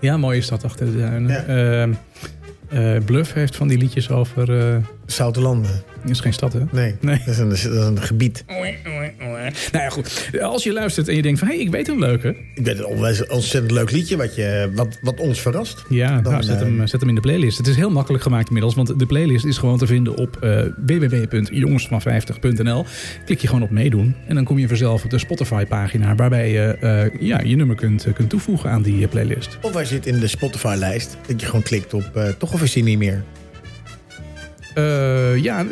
Speaker 1: Ja, mooie stad achter de duinen. Ehm,
Speaker 2: Ja.
Speaker 1: Eh, eh, Bluff heeft van die liedjes over... eh,
Speaker 2: Zoutelanden.
Speaker 1: is geen stad, hè?
Speaker 2: Nee,
Speaker 1: Nee.
Speaker 2: Dat, is een, dat is een gebied.
Speaker 1: Nou ja, goed. Als je luistert en je denkt van... hé, hey, ik weet een leuke.
Speaker 2: Ik weet het onwijs- een ontzettend leuk liedje wat, je, wat, wat ons verrast.
Speaker 1: Ja,
Speaker 2: Dan,
Speaker 1: nou, zet,
Speaker 2: eh,
Speaker 1: hem, zet hem in de playlist. Het is heel makkelijk gemaakt inmiddels... want de playlist is gewoon te vinden op eh www.jongensvan50.nl. Klik je gewoon op meedoen... en dan kom je vanzelf op de Spotify-pagina... waarbij je eh, ja, je nummer kunt, eh, kunt toevoegen aan die eh, playlist.
Speaker 2: Of hij zit in de Spotify-lijst. Dat je gewoon klikt op eh, toch of is hij niet meer.
Speaker 1: Eh, ja,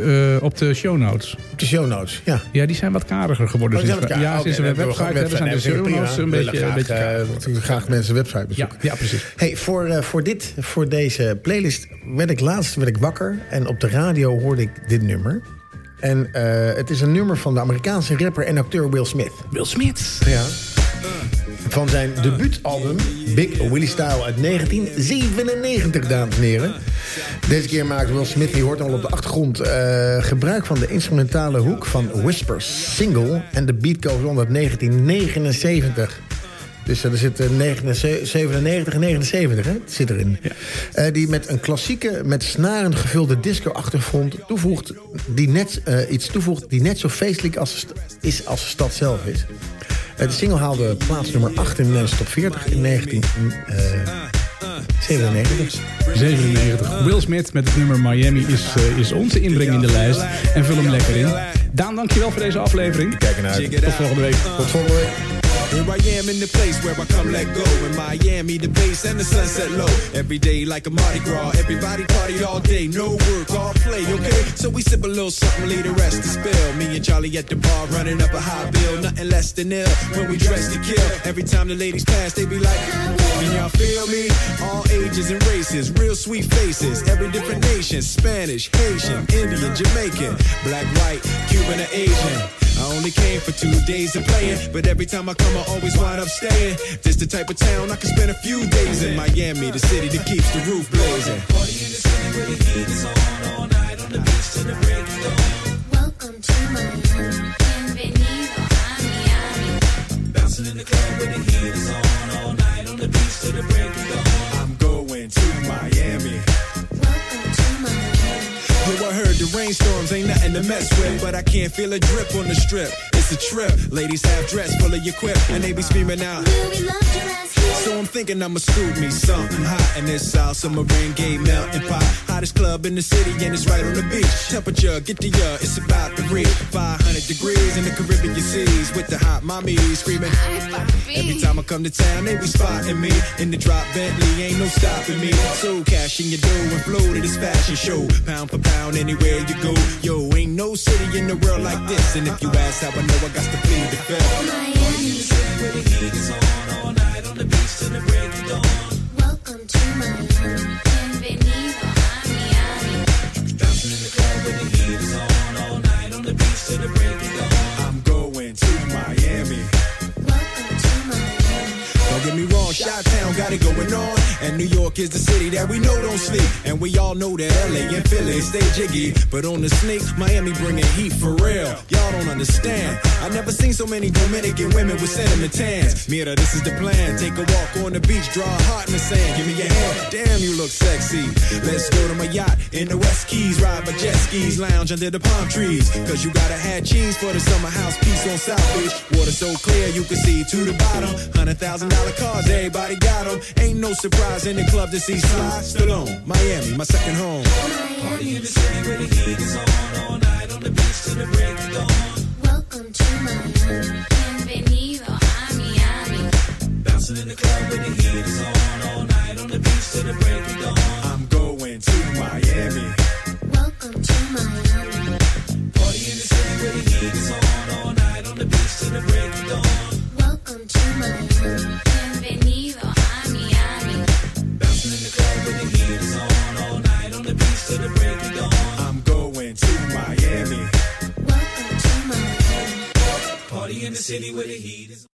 Speaker 1: eh, op de show notes.
Speaker 2: Op de show notes, ja.
Speaker 1: Ja, die zijn wat kariger geworden.
Speaker 2: Oh, die zijn
Speaker 1: sinds
Speaker 2: wat
Speaker 1: we-
Speaker 2: karig.
Speaker 1: ja,
Speaker 2: Oké,
Speaker 1: sinds we
Speaker 2: dan
Speaker 1: een
Speaker 2: hebben we
Speaker 1: website
Speaker 2: gewoon
Speaker 1: hebben, zijn de show
Speaker 2: website. Nee,
Speaker 1: notes een
Speaker 2: prima.
Speaker 1: beetje,
Speaker 2: Willen
Speaker 1: een beetje
Speaker 2: graag,
Speaker 1: kariger.
Speaker 2: eh, natuurlijk graag mensen website
Speaker 1: Ja,
Speaker 2: bezoeken.
Speaker 1: ja, precies.
Speaker 2: Hey, voor, eh, voor, dit, voor deze playlist werd ik laatst werd ik wakker en op de radio hoorde ik dit nummer. En eh, het is een nummer van de Amerikaanse rapper en acteur Will Smith.
Speaker 1: Will Smith.
Speaker 2: Ja. Van zijn debuutalbum Big Willie Style uit 1997, dames en heren. Deze keer maakt Will Smith, die hoort al op de achtergrond... eh, gebruik van de instrumentale hoek van Whispers single... en de beat goes on uit 1979. Dus eh, er zit eh, 99 97 en 79, hè? Het zit erin. Eh, die met een klassieke, met snaren gevulde disco-achtergrond... toevoegt, die net, eh, iets toevoegt die net zo feestelijk als de st- is als de stad zelf is. Eh, de single haalde plaats nummer 8 in de Nederlandse top 40 in eh, 1997.
Speaker 1: 97. Will Smith met het nummer Miami is, eh, is onze inbreng in de lijst. En vul hem lekker in. Daan, dankjewel voor deze aflevering.
Speaker 2: Kijk ernaar uit.
Speaker 1: Tot volgende week.
Speaker 2: Tot volgende week.
Speaker 5: Here I am in the place where I come let go. In Miami, the bass and the sunset low. Every day like a Mardi Gras. Everybody party all day. No work, all play, okay? So we sip a little something, leave the rest to spill. Me and Charlie at the bar running up a high bill. Nothing less than ill when we dress to kill. Every time the ladies pass, they be like, Can y'all feel me? All ages and races, real sweet faces. Every different nation Spanish, Haitian, Indian, Jamaican, black, white, Cuban, or Asian. I only came for two days of playing, but every time I come, I always wind up staying. This the type of town I can spend a few days in. Miami, the city that keeps the roof blazing.
Speaker 4: Welcome to Miami. Bienvenido a Miami.
Speaker 5: I'm going to Miami.
Speaker 4: Welcome to Miami.
Speaker 5: Yo, I heard the rainstorms ain't nothing to mess with, but I can't feel a drip on the strip. It's a trip. Ladies half dressed, full of your quip, and they be screaming out.
Speaker 4: Will we love your ass here?
Speaker 5: So I'm thinking I'ma scoop me something hot in this South Summer rain gay melting pot. Hottest club in the city and it's right on the beach. Temperature, get the uh, it's about to reach 500 degrees in the Caribbean seas with the hot mommy screaming. Every time I come to town, they be spotting me in the drop Bentley. Ain't no stopping me. So cash in your dough and flow to this fashion show. Pound for pound, anywhere you go. Yo, ain't no city in the world like this. And if you ask how I know, I got to plead the fifth.
Speaker 4: Miami. Welcome to Miami. Bienvenido a Miami.
Speaker 5: I'm going to Miami.
Speaker 4: Welcome to Miami.
Speaker 5: Don't get me wrong, Chi-Town got it going on. And New York is the city that we know don't sleep. And we all know that LA and Philly stay jiggy. But on the sneak, Miami bringing heat for real. Y'all don't understand. I never seen so many Dominican women with cinnamon tans. Mira, this is the plan. Take a walk on the beach, draw a heart in the sand. Give me your hand. Damn, you look sexy. Let's go to my yacht in the West Keys. Ride my jet skis, lounge under the palm trees. Cause you gotta have cheese for the summer house piece on South Beach. Water so clear you can see to the bottom. Hundred thousand dollar cars, everybody got 'em. Ain't no surprise in the club to see Sly Stallone. Miami, my second home.
Speaker 4: Welcome to Miami. Bienvenido a Miami.
Speaker 5: I'm going to Miami.
Speaker 4: Welcome to Miami. Party in the city with the heat is on all night on the beach to the break of dawn. Welcome to Miami. Bienvenido a Miami.
Speaker 5: I'm going to Miami.
Speaker 4: Welcome to Miami.
Speaker 5: Party in the city where the heat is